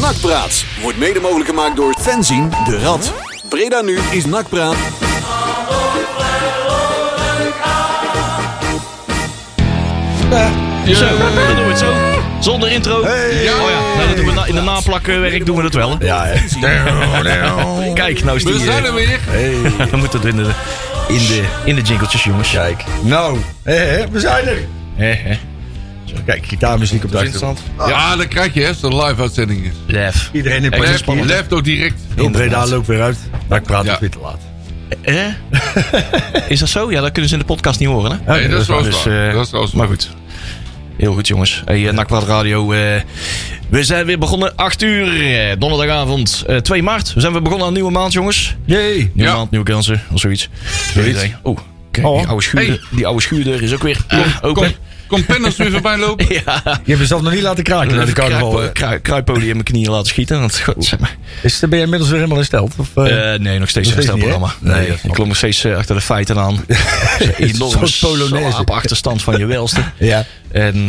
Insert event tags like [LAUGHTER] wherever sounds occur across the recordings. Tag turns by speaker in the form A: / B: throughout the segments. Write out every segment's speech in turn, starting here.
A: Nakpraat wordt mede mogelijk gemaakt door Fenzin de Rad. Breda nu is Nakpraat.
B: Zo, dan doen we het zo. Zonder intro. Oh ja, nou, dat doen we na- in de naplakwerk doen we dat wel. hè.
C: Ja, hè.
B: Kijk, nou is die...
D: We zijn
B: eh,
D: er weer.
B: [LAUGHS] we moeten het in de, in de, in de jingletjes, jongens.
C: Kijk. Nou, hè, hè, we zijn er.
B: Hè, hè.
C: Zo, Kijk, gitaarmuziek op de achtergrond.
D: Ja, dat Ah, krijg je hè, als het een live uitzending is.
B: Lef.
C: Iedereen in
B: is
C: Parijs.
D: Left,
B: spannend.
D: left ook direct.
C: In Breda loopt weer uit. Maar ik praat
D: Ja.
C: het weer te laat.
B: Eh? Is dat zo? Ja, dat kunnen ze in de podcast niet horen, hè?
D: Nee, dat is wel eens
B: Dus,
D: waar.
B: eh,
D: Dat is wel eens
B: Maar
D: waar.
B: goed. Heel goed, jongens. Hey, eh, Nakpraat Radio. eh, we zijn weer begonnen. 8 uur. eh, donderdagavond. eh, 2 maart. We zijn weer begonnen aan een nieuwe maand, jongens.
C: Jee.
B: Nieuwe
D: Ja.
B: maand, nieuwe kansen. Of zoiets.
C: Zoiets.
B: Nee, nee. Oh, kijk.
C: Oh.
B: Die oude schuurdeur, die oude schuurdeur is ook weer eh,
D: Kom,
B: open.
D: kom Pennas weer voorbij lopen?
B: [LAUGHS] Ja.
C: Je hebt jezelf nog niet laten kraken na de carnaval. hè?
B: Kruip, kruipolie in mijn knieën laten schieten. Want, god, zeg maar.
C: Is, ben je inmiddels weer helemaal hersteld? Of, eh,
B: Eh, nee, nog steeds
C: Nog
B: een
C: steeds niet, hè?
B: stelprogramma.
C: Nee,
B: Nee,
C: dat snap
B: ik klom nog steeds eh, achter de feiten aan.
C: [LAUGHS]
B: Enorm
C: soort Polonaise.
B: slaap achterstand van je welste.
C: [LAUGHS] ja.
B: En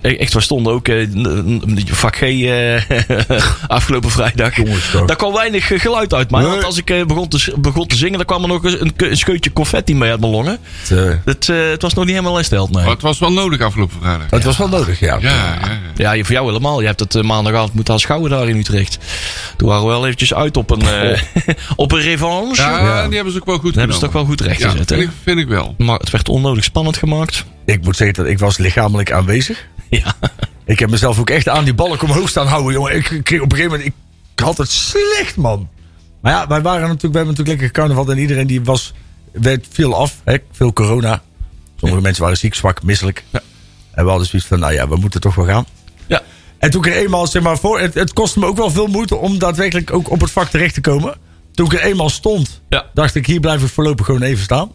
B: eh, echt, waar stonden ook eh, n- n- vak G eh, [LAUGHS] afgelopen vrijdag.
C: Jongens, toch.
B: Daar kwam weinig eh, geluid uit. Maar
C: Nee.
B: want als ik eh, begon, te, z- begon te zingen, dan kwam er nog eens een, ke- een scheutje confetti mee uit mijn longen.
C: Het, eh,
B: Het, eh, het was nog niet helemaal hersteld, nee.
D: Maar het was wel nodig afgelopen vrijdag.
C: het was wel nodig, ja.
D: Ja, ja, ja.
B: Ja, je- voor jou helemaal. Je hebt het eh, maandagavond moeten aanschouwen daar in Utrecht. Toen waren we wel eventjes uit op een, eh,
C: Oh.
B: [LAUGHS] op een revanche.
D: Ja,
C: Ja.
D: die hebben ze ook wel goed
B: Dat hebben ze toch wel goed recht
D: ja,
B: gezet,
D: vind,
B: hè?
D: ik, vind ik wel.
B: Maar het werd onnodig spannend gemaakt.
C: Ik moet zeggen dat ik was lichamelijk aanwezig.
B: [LAUGHS] Ja.
C: Ik heb mezelf ook echt aan die balk omhoog staan houden, jongen. Ik, kreeg op een gegeven moment... Ik had het slecht, man. Maar ja, wij waren natuurlijk... We hebben natuurlijk lekker carnaval. En iedereen die was... Werd veel af. Hè, veel corona. Sommige mensen waren ziek, zwak, misselijk. En we hadden zoiets van... Nou ja, we moeten toch wel gaan.
B: Ja.
C: En toen ik er eenmaal, zeg maar, voor... Het, het kostte me ook wel veel moeite om daadwerkelijk ook op het vak terecht te komen. Toen ik er eenmaal stond,
B: Ja.
C: dacht ik, hier blijf ik voorlopig gewoon even staan.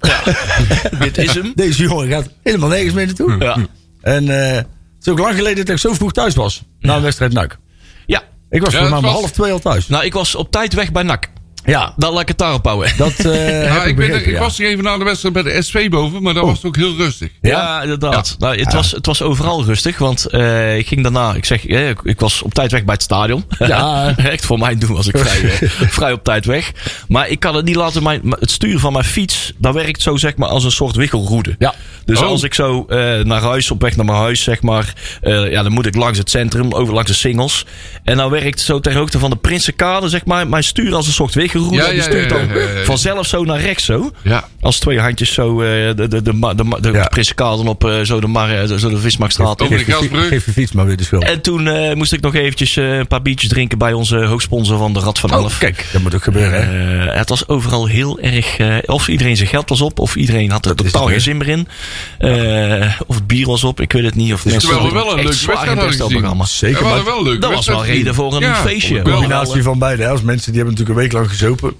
B: Dit is hem.
C: Deze jongen gaat helemaal nergens meer naartoe.
B: Ja.
C: En eh, het is ook lang geleden dat ik zo vroeg thuis was. Na een wedstrijd NAC.
B: ja.
C: Ik was
D: Ja,
C: voor mij
D: het
C: om
D: was-
C: half twee al thuis.
B: Nou, ik was op tijd weg bij NAC.
C: Ja,
B: Dan laat ik het daarop houden.
C: dat
D: [LAUGHS]
C: eh heb
D: Ja,
C: ik,
D: Ah, ik, ben,
C: begrepen,
D: ik
C: ja.
D: was nog even na de wedstrijd bij de SV boven,
B: Oh.
D: maar dat was het ook heel rustig.
B: Ja, inderdaad. Nou, het, was, het was overal rustig, want eh, ik ging daarna... Ik zeg, eh, ik, ik was op tijd weg bij het stadion.
C: Ja.
B: [LAUGHS] Echt voor mijn doen was ik vrij, [LAUGHS] eh, vrij op tijd weg. Maar ik kan het niet laten... Mijn, het sturen van mijn fiets, dat werkt zo zeg maar als een soort wichelroede.
C: Ja.
B: Dus
D: Oh.
B: als ik zo eh, naar huis, op weg naar mijn huis zeg maar... eh, ja, dan moet ik langs het centrum, over langs de singles. En dan werkt zo ter hoogte van de Prinsenkade zeg maar... Mijn stuur als een soort wichelroede.
D: Ja,
B: en die
D: ja, ja,
B: stuurt dan
D: ja, ja, ja.
B: vanzelf zo naar rechts zo.
D: Ja.
B: Als twee handjes zo eh, de, de, de, ma- de, ma- de
C: Ja.
B: Prinsenkaal dan op eh, zo de, mar, eh, zo de Vismarktstraat. in.
D: Over de
C: Geef je, fi-
D: Gelderbrug.
C: geef je fiets maar weer de schuld.
B: En toen eh, moest ik nog eventjes eh, een paar biertjes drinken bij onze hoofdsponsor van de Rad van Elf.
C: Oh, kijk, dat moet ook gebeuren, hè.
B: Eh, het was overal heel erg. eh, of iedereen zijn geld was op, of iedereen had er
C: Dat is
B: totaal
C: het,
B: geen
C: hè?
B: zin meer in. Eh, of het bier was op, ik weet het niet. Of mensen
D: terwijl we
B: hadden
D: wel een
B: echt
D: leuke
B: zwaar
D: wedstrijd hadden gezien.
B: herstelprogramma.
C: Zeker,
D: we
C: maar
D: hadden wel een leuke
B: dat was
D: wedstrijd
B: wel
D: gezien.
B: reden voor een feestje.
D: wel.
C: een combinatie van beide. Hè. Als mensen die hebben natuurlijk een week lang gezopen.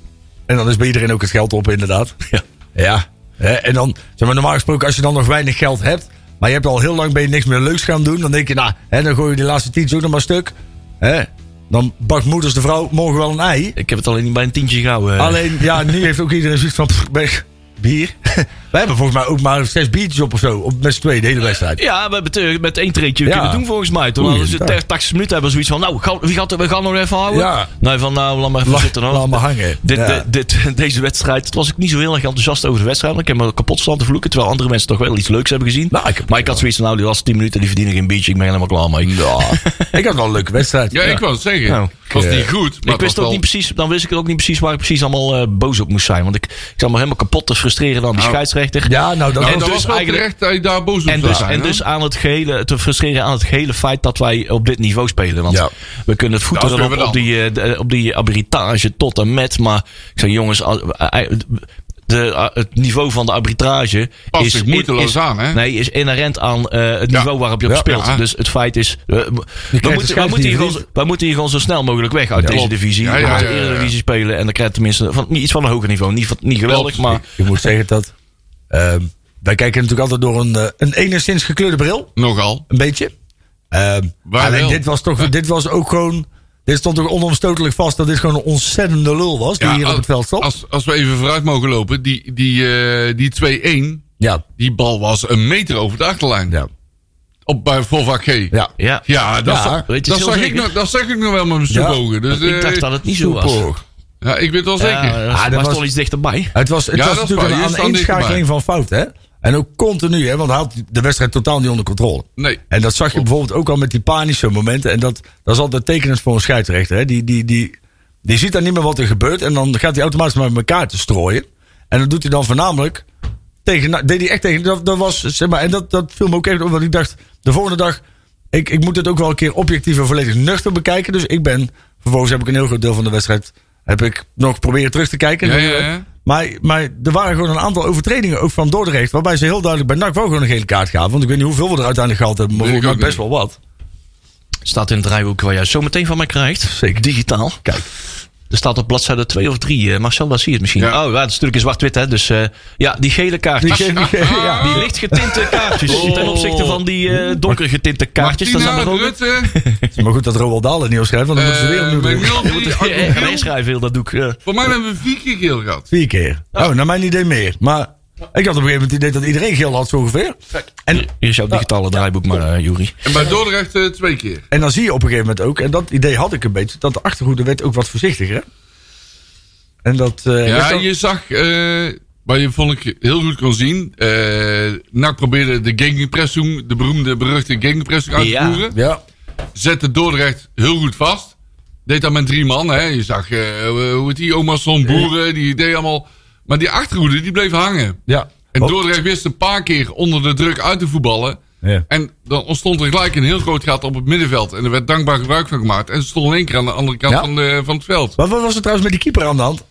C: En dan is bij iedereen ook het geld op, inderdaad.
B: Ja.
C: Ja. Hè, En dan, zeg maar, normaal gesproken, als je dan nog weinig geld hebt. Maar je hebt al heel lang ben je niks meer leuks gaan doen. Dan denk je, nou, hè, dan gooi je die laatste tientjes ook nog maar stuk. Hè? Dan bakt moeders de vrouw morgen wel een ei.
B: Ik heb het alleen niet bij een tientje gehouden. eh,
C: Alleen, ja, nu heeft ook iedereen zoiets van, pff, ben- [LAUGHS] bier. Wij hebben volgens mij ook maar zes biertjes op of zo. Op met z'n tweeën, de hele
B: [LAUGHS]
C: wedstrijd.
B: Ja, we hebben het eh, met één treetje
C: Ja.
B: kunnen doen volgens mij. Toen
C: Oei,
B: hadden ze
C: inderdaad.
B: 80 minuten hebben we zoiets van, nou, gaan- wie gaat, we gaan nog even houden.
C: Ja.
B: Nee, van nou, laat maar even
C: Laat-
B: zitten. hoor.
C: laat maar hangen.
B: Dit,
C: Ja.
B: dit- dit- [LAUGHS] deze wedstrijd, het was ik niet zo heel erg enthousiast over de wedstrijd. want Ik heb me kapot staan te vloeken, terwijl andere mensen toch wel iets leuks hebben gezien.
C: Nou, ik heb-
B: maar ik had zoiets van, nou, die laatste 10 minuten, die verdienen geen biertje. Ik ben helemaal klaar mee. [LAUGHS]
C: Ik had wel een leuke wedstrijd.
D: Ja, ik wou het zeggen.
B: Nou,
D: het was
C: eh,
D: niet goed, maar
B: ik
D: het
B: wist
D: was
B: ook niet
D: wel-
B: precies, dan wist ik ook niet precies waar ik precies allemaal eh, boos op moest zijn. Want ik, ik zat me helemaal kapot te frustreren aan die
D: Nou.
B: scheidsrechter.
C: Ja, nou, dat
D: Nou,
B: En
D: dat
B: dus
D: was wel
B: eigenlijk-
D: terecht dat je daar boos op
B: En
D: zou
B: dus,
D: zijn,
B: en
D: hè?
B: dus aan het gehele, te frustreren aan het gehele feit dat wij op dit niveau spelen. Want
C: Ja.
B: we kunnen het
D: Dat
B: voeteren
D: kunnen
B: op,
D: we
B: op
D: dan.
B: die, eh, de- op die arbitrage tot en met. Maar ik zeg jongens, als- eh, eh, de, eh, het niveau van de arbitrage
D: Past
B: is,
D: zich moeiteloos
B: is-
D: aan, hè?
B: Nee, is inherent aan eh, het
D: Ja.
B: niveau waarop je op
C: Ja,
B: speelt.
D: ja.
B: Dus het feit is, eh, we,
C: de
B: moeten, we,
C: schijf
B: moeten
C: die
B: hier
C: je
B: gewoon, zo- we moeten hier gewoon zo snel mogelijk weg uit
C: Ja.
B: deze
C: Klopt.
B: divisie.
D: Ja, ja,
B: we gaan
D: ja,
B: de
D: ja, ja.
B: Eredivisie spelen en dan krijg je tenminste van, iets van een hoger niveau. Niet, van- niet geweldig,
D: Klopt.
B: maar...
C: Ik moet zeggen dat. ehm, wij kijken natuurlijk altijd door een, eh, een enigszins gekleurde bril.
D: Nogal.
C: Een beetje. Ehm,
D: Waar
C: alleen
D: wel?
C: dit was toch. Dit was ook gewoon. Dit stond toch onomstotelijk vast dat dit gewoon een ontzettende lul was. Die
D: Ja,
C: hier op
D: als-
C: het veld stond.
D: Als, als we even vooruit mogen lopen, die, die, eh, die 2-1,
C: ja.
D: die bal was een meter over de achterlijn.
C: ja.
D: Op bij Volva G.
C: Ja.
B: Ja.
D: Ja, dat,
C: Ja,
D: zag-
B: weet je,
D: dat,
B: heel
D: zag ik
B: zeker.
D: nog, dat zag ik nog wel met mijn
C: Ja.
D: zoekogen. Dus,
B: ik
D: eh,
B: dacht dat het niet zo was.
C: Super.
D: Ja, ik weet het wel
B: Ja,
D: zeker.
B: dat was,
C: dat
B: was
C: was-
B: toch Ah, iets dichterbij.
C: Het was, het
D: Ja,
C: was
D: dat is
C: natuurlijk
D: waar. Je
C: een,
D: staat
C: een
D: dichterbij.
C: inschakeling van fout, hè? En ook continu, hè? Want hij had de wedstrijd totaal niet onder controle.
D: Nee.
C: En dat zag je bijvoorbeeld ook al met die panische momenten. En dat, dat is altijd tekenend voor een scheidsrechter. Hè? Die, die, die, die ziet dan niet meer wat er gebeurt. En dan gaat hij automatisch met elkaar te strooien. En dat doet hij dan voornamelijk. Tegen, nou, deed hij echt tegen. Dat, dat was, zeg maar, en dat, dat viel me ook echt op. Want ik dacht, de volgende dag. Ik, ik moet het ook wel een keer objectief en volledig nuchter bekijken. Dus ik ben. Vervolgens heb ik een heel groot deel van de wedstrijd. Heb ik nog proberen terug te kijken.
D: Ja, ja, ja.
C: Maar, maar er waren gewoon een aantal overtredingen. Ook van Dordrecht. Waarbij ze heel duidelijk bij NAC wel gewoon een gele kaart gaven. Want ik weet niet hoeveel we er uiteindelijk gehad hebben. Maar
D: Weet ik
C: volgens mij
D: ook
C: best wel wat.
B: Staat in het draaiboek waar jij zo meteen van mij krijgt.
C: Zeker.
B: Digitaal.
C: Kijk.
B: Er staat op bladzijde 2 of 3. eh, Marcel, daar zie je het misschien.
D: Ja.
B: Oh, ja, dat is natuurlijk in zwart-wit, hè. Dus eh, ja, die gele
C: Die
B: kaartjes. Die,
C: geeft niet-
B: [LAUGHS]
C: ja. Oh.
B: licht getinte kaartjes. Ten opzichte van die eh, donker getinte kaartjes. Daar
D: Martina
B: zijn er ook...
D: Rutte.
C: Maar goed dat Roald Dahl het niet opschrijft, want dan moeten ze weer
D: eh,
C: opnieuw
D: Bij
B: [LAUGHS]
D: 0-3
C: doen.
B: Ja,
D: Arjen Geel.
B: schrijven heel dat doek. eh.
D: Voor mij hebben we vier keer geel gehad.
C: Vier keer. Oh, naar mijn idee meer. Maar ik had op een gegeven moment het idee dat iedereen geel had, zo ongeveer. En,
B: Hier is jouw digitale draaiboek maar, eh, Juri.
D: En bij Dordrecht eh, twee keer.
C: en dan zie je op een gegeven moment ook, en dat idee had ik een beetje, dat de achterhoede werd ook wat voorzichtiger. Hè? En dat. eh,
D: Ja,
C: werd dan-
D: je zag, eh waar je vond ik heel goed kon zien. eh NAC probeerde de gegenpressing, de beroemde, beruchte gegenpressing uit te
B: Ja.
D: voeren.
C: ja.
D: Zette Dordrecht heel goed vast. Deed dat met drie man. Hè. Je zag, eh, hoe heet die, oma Son Boeren, die deed allemaal... Maar die achterhoede, die bleef hangen.
C: ja.
D: En
C: Ook-
D: Dordrecht wist een paar keer onder de druk uit te voetballen.
C: Ja.
D: En dan ontstond er gelijk een heel groot gat op het middenveld. En er werd dankbaar gebruik van gemaakt. En ze stonden in één keer aan de andere kant
C: Ja.
D: van, de, van het veld.
C: Maar wat was er trouwens met die keeper aan de hand?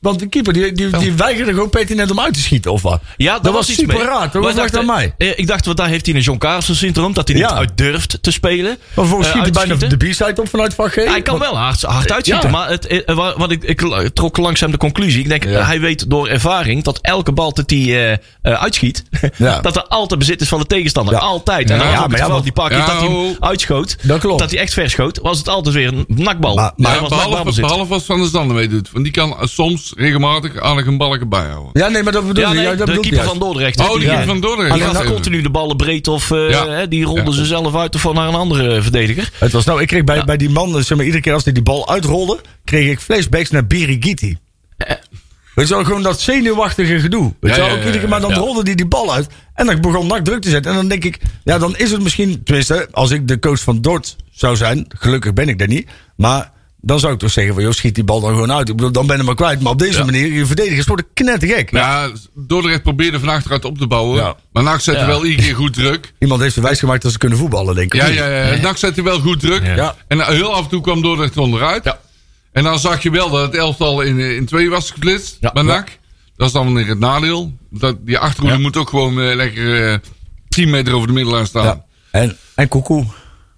C: Want de keeper die, die, die weigerde gewoon pertinent om uit te schieten, of wat?
B: Oh. Ja,
C: dat, was,
B: iets
C: super
B: mee.
C: raar.
B: Maar
C: Toen
B: ik
C: dacht aan mij.
B: eh, Ik dacht, want daar heeft hij een John Carlsen syndroom. Dat hij
C: Ja.
B: niet uit durft te spelen.
C: Maar vervolgens
B: Eh,
C: schiet hij bijna
B: uitschieten.
C: de b-side op vanuit vak G.
B: Hij kan wel hard, hard uitschieten.
C: Ja.
B: Maar het, eh, wa- wat ik, ik la- trok langzaam de conclusie. Ik denk,
C: Ja.
B: eh, hij weet door ervaring dat elke bal dat hij eh, eh, uitschiet... [LAUGHS]
C: Ja.
B: dat er altijd bezit is van de tegenstander.
C: Ja.
B: Altijd. En
C: Ja,
B: dan
C: ja,
B: ja,
C: maar
B: maar
C: ja, want-
B: die paar keer
D: Ja,
B: dat hij hem
D: oh.
B: uitschoot...
C: Dat klopt.
B: hij echt verschoot, was het altijd weer een nakbal.
C: Maar-
B: Ja,
C: maar
B: want
D: behalve,
B: nakbalbezit.
D: behalve als Van der Zanden meedoet. Want die kan eh, soms regelmatig aardig een balken bijhouden.
C: Ja, nee, maar dat bedoel
B: Ja,
C: ik.
B: nee,
C: ja, dat
B: de
C: bedoel ik
B: keeper
C: juist.
B: van Dordrecht.
D: Oh, die
B: eh,
D: keeper van Dordrecht.
B: Alleen
D: Ja,
B: dan
D: even.
B: continu de ballen breed of eh,
D: Ja.
B: hè, die ronden
D: Ja.
B: ze zelf uit of van naar een andere verdediger.
C: Het was nou, ik kreeg bij,
B: Ja.
C: bij die man, eh, zeg maar, iedere keer als hij die bal uitrolde, kreeg ik flashbacks naar Birigiti. Weet je wel, gewoon dat zenuwachtige gedoe. Weet
D: Eh. Ja,
C: je wel,
D: ja,
C: ook
D: ja,
C: iedere keer, maar dan
B: ja.
C: rolde hij die bal uit en dan begon NAC druk te zetten. En dan denk ik, ja, dan is het misschien, tenminste, als ik de coach van Dort zou zijn, gelukkig ben ik daar niet, maar dan zou ik toch zeggen van, joh, schiet die bal dan gewoon uit. Ik bedoel, dan ben je maar kwijt. Maar op deze manier, je verdedigers worden knettergek.
D: Ja, Dordrecht probeerde van achteruit op te bouwen.
C: Ja.
D: Maar NAC zette
B: Ja.
D: wel iedere keer goed druk.
C: Iemand heeft ze wijsgemaakt dat ze kunnen voetballen, denk ik.
D: Ja, ja, ja. NAC zette wel goed druk.
C: Ja.
D: En eh, heel af en toe kwam Dordrecht onderuit. En dan zag je wel dat het elftal in, eh, in twee was gesplitst
B: Ja.
D: bij NAC. Dat is dan weer het nadeel. Dat, die achterhoede moet ook gewoon eh, lekker eh 10 meter over de middellijn staan.
C: Ja. En, en Koekoe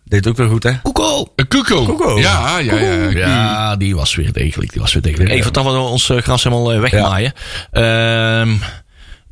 C: deed ook weer goed, hè?
B: Koeko!
D: Eh, Kuko.
C: Kuko.
D: Ja, Ah, ja, ja. ja.
B: Ja, die was weer degelijk. Die was weer degelijk. Even dat we ons eh, gras helemaal eh, wegmaaien. Ehm,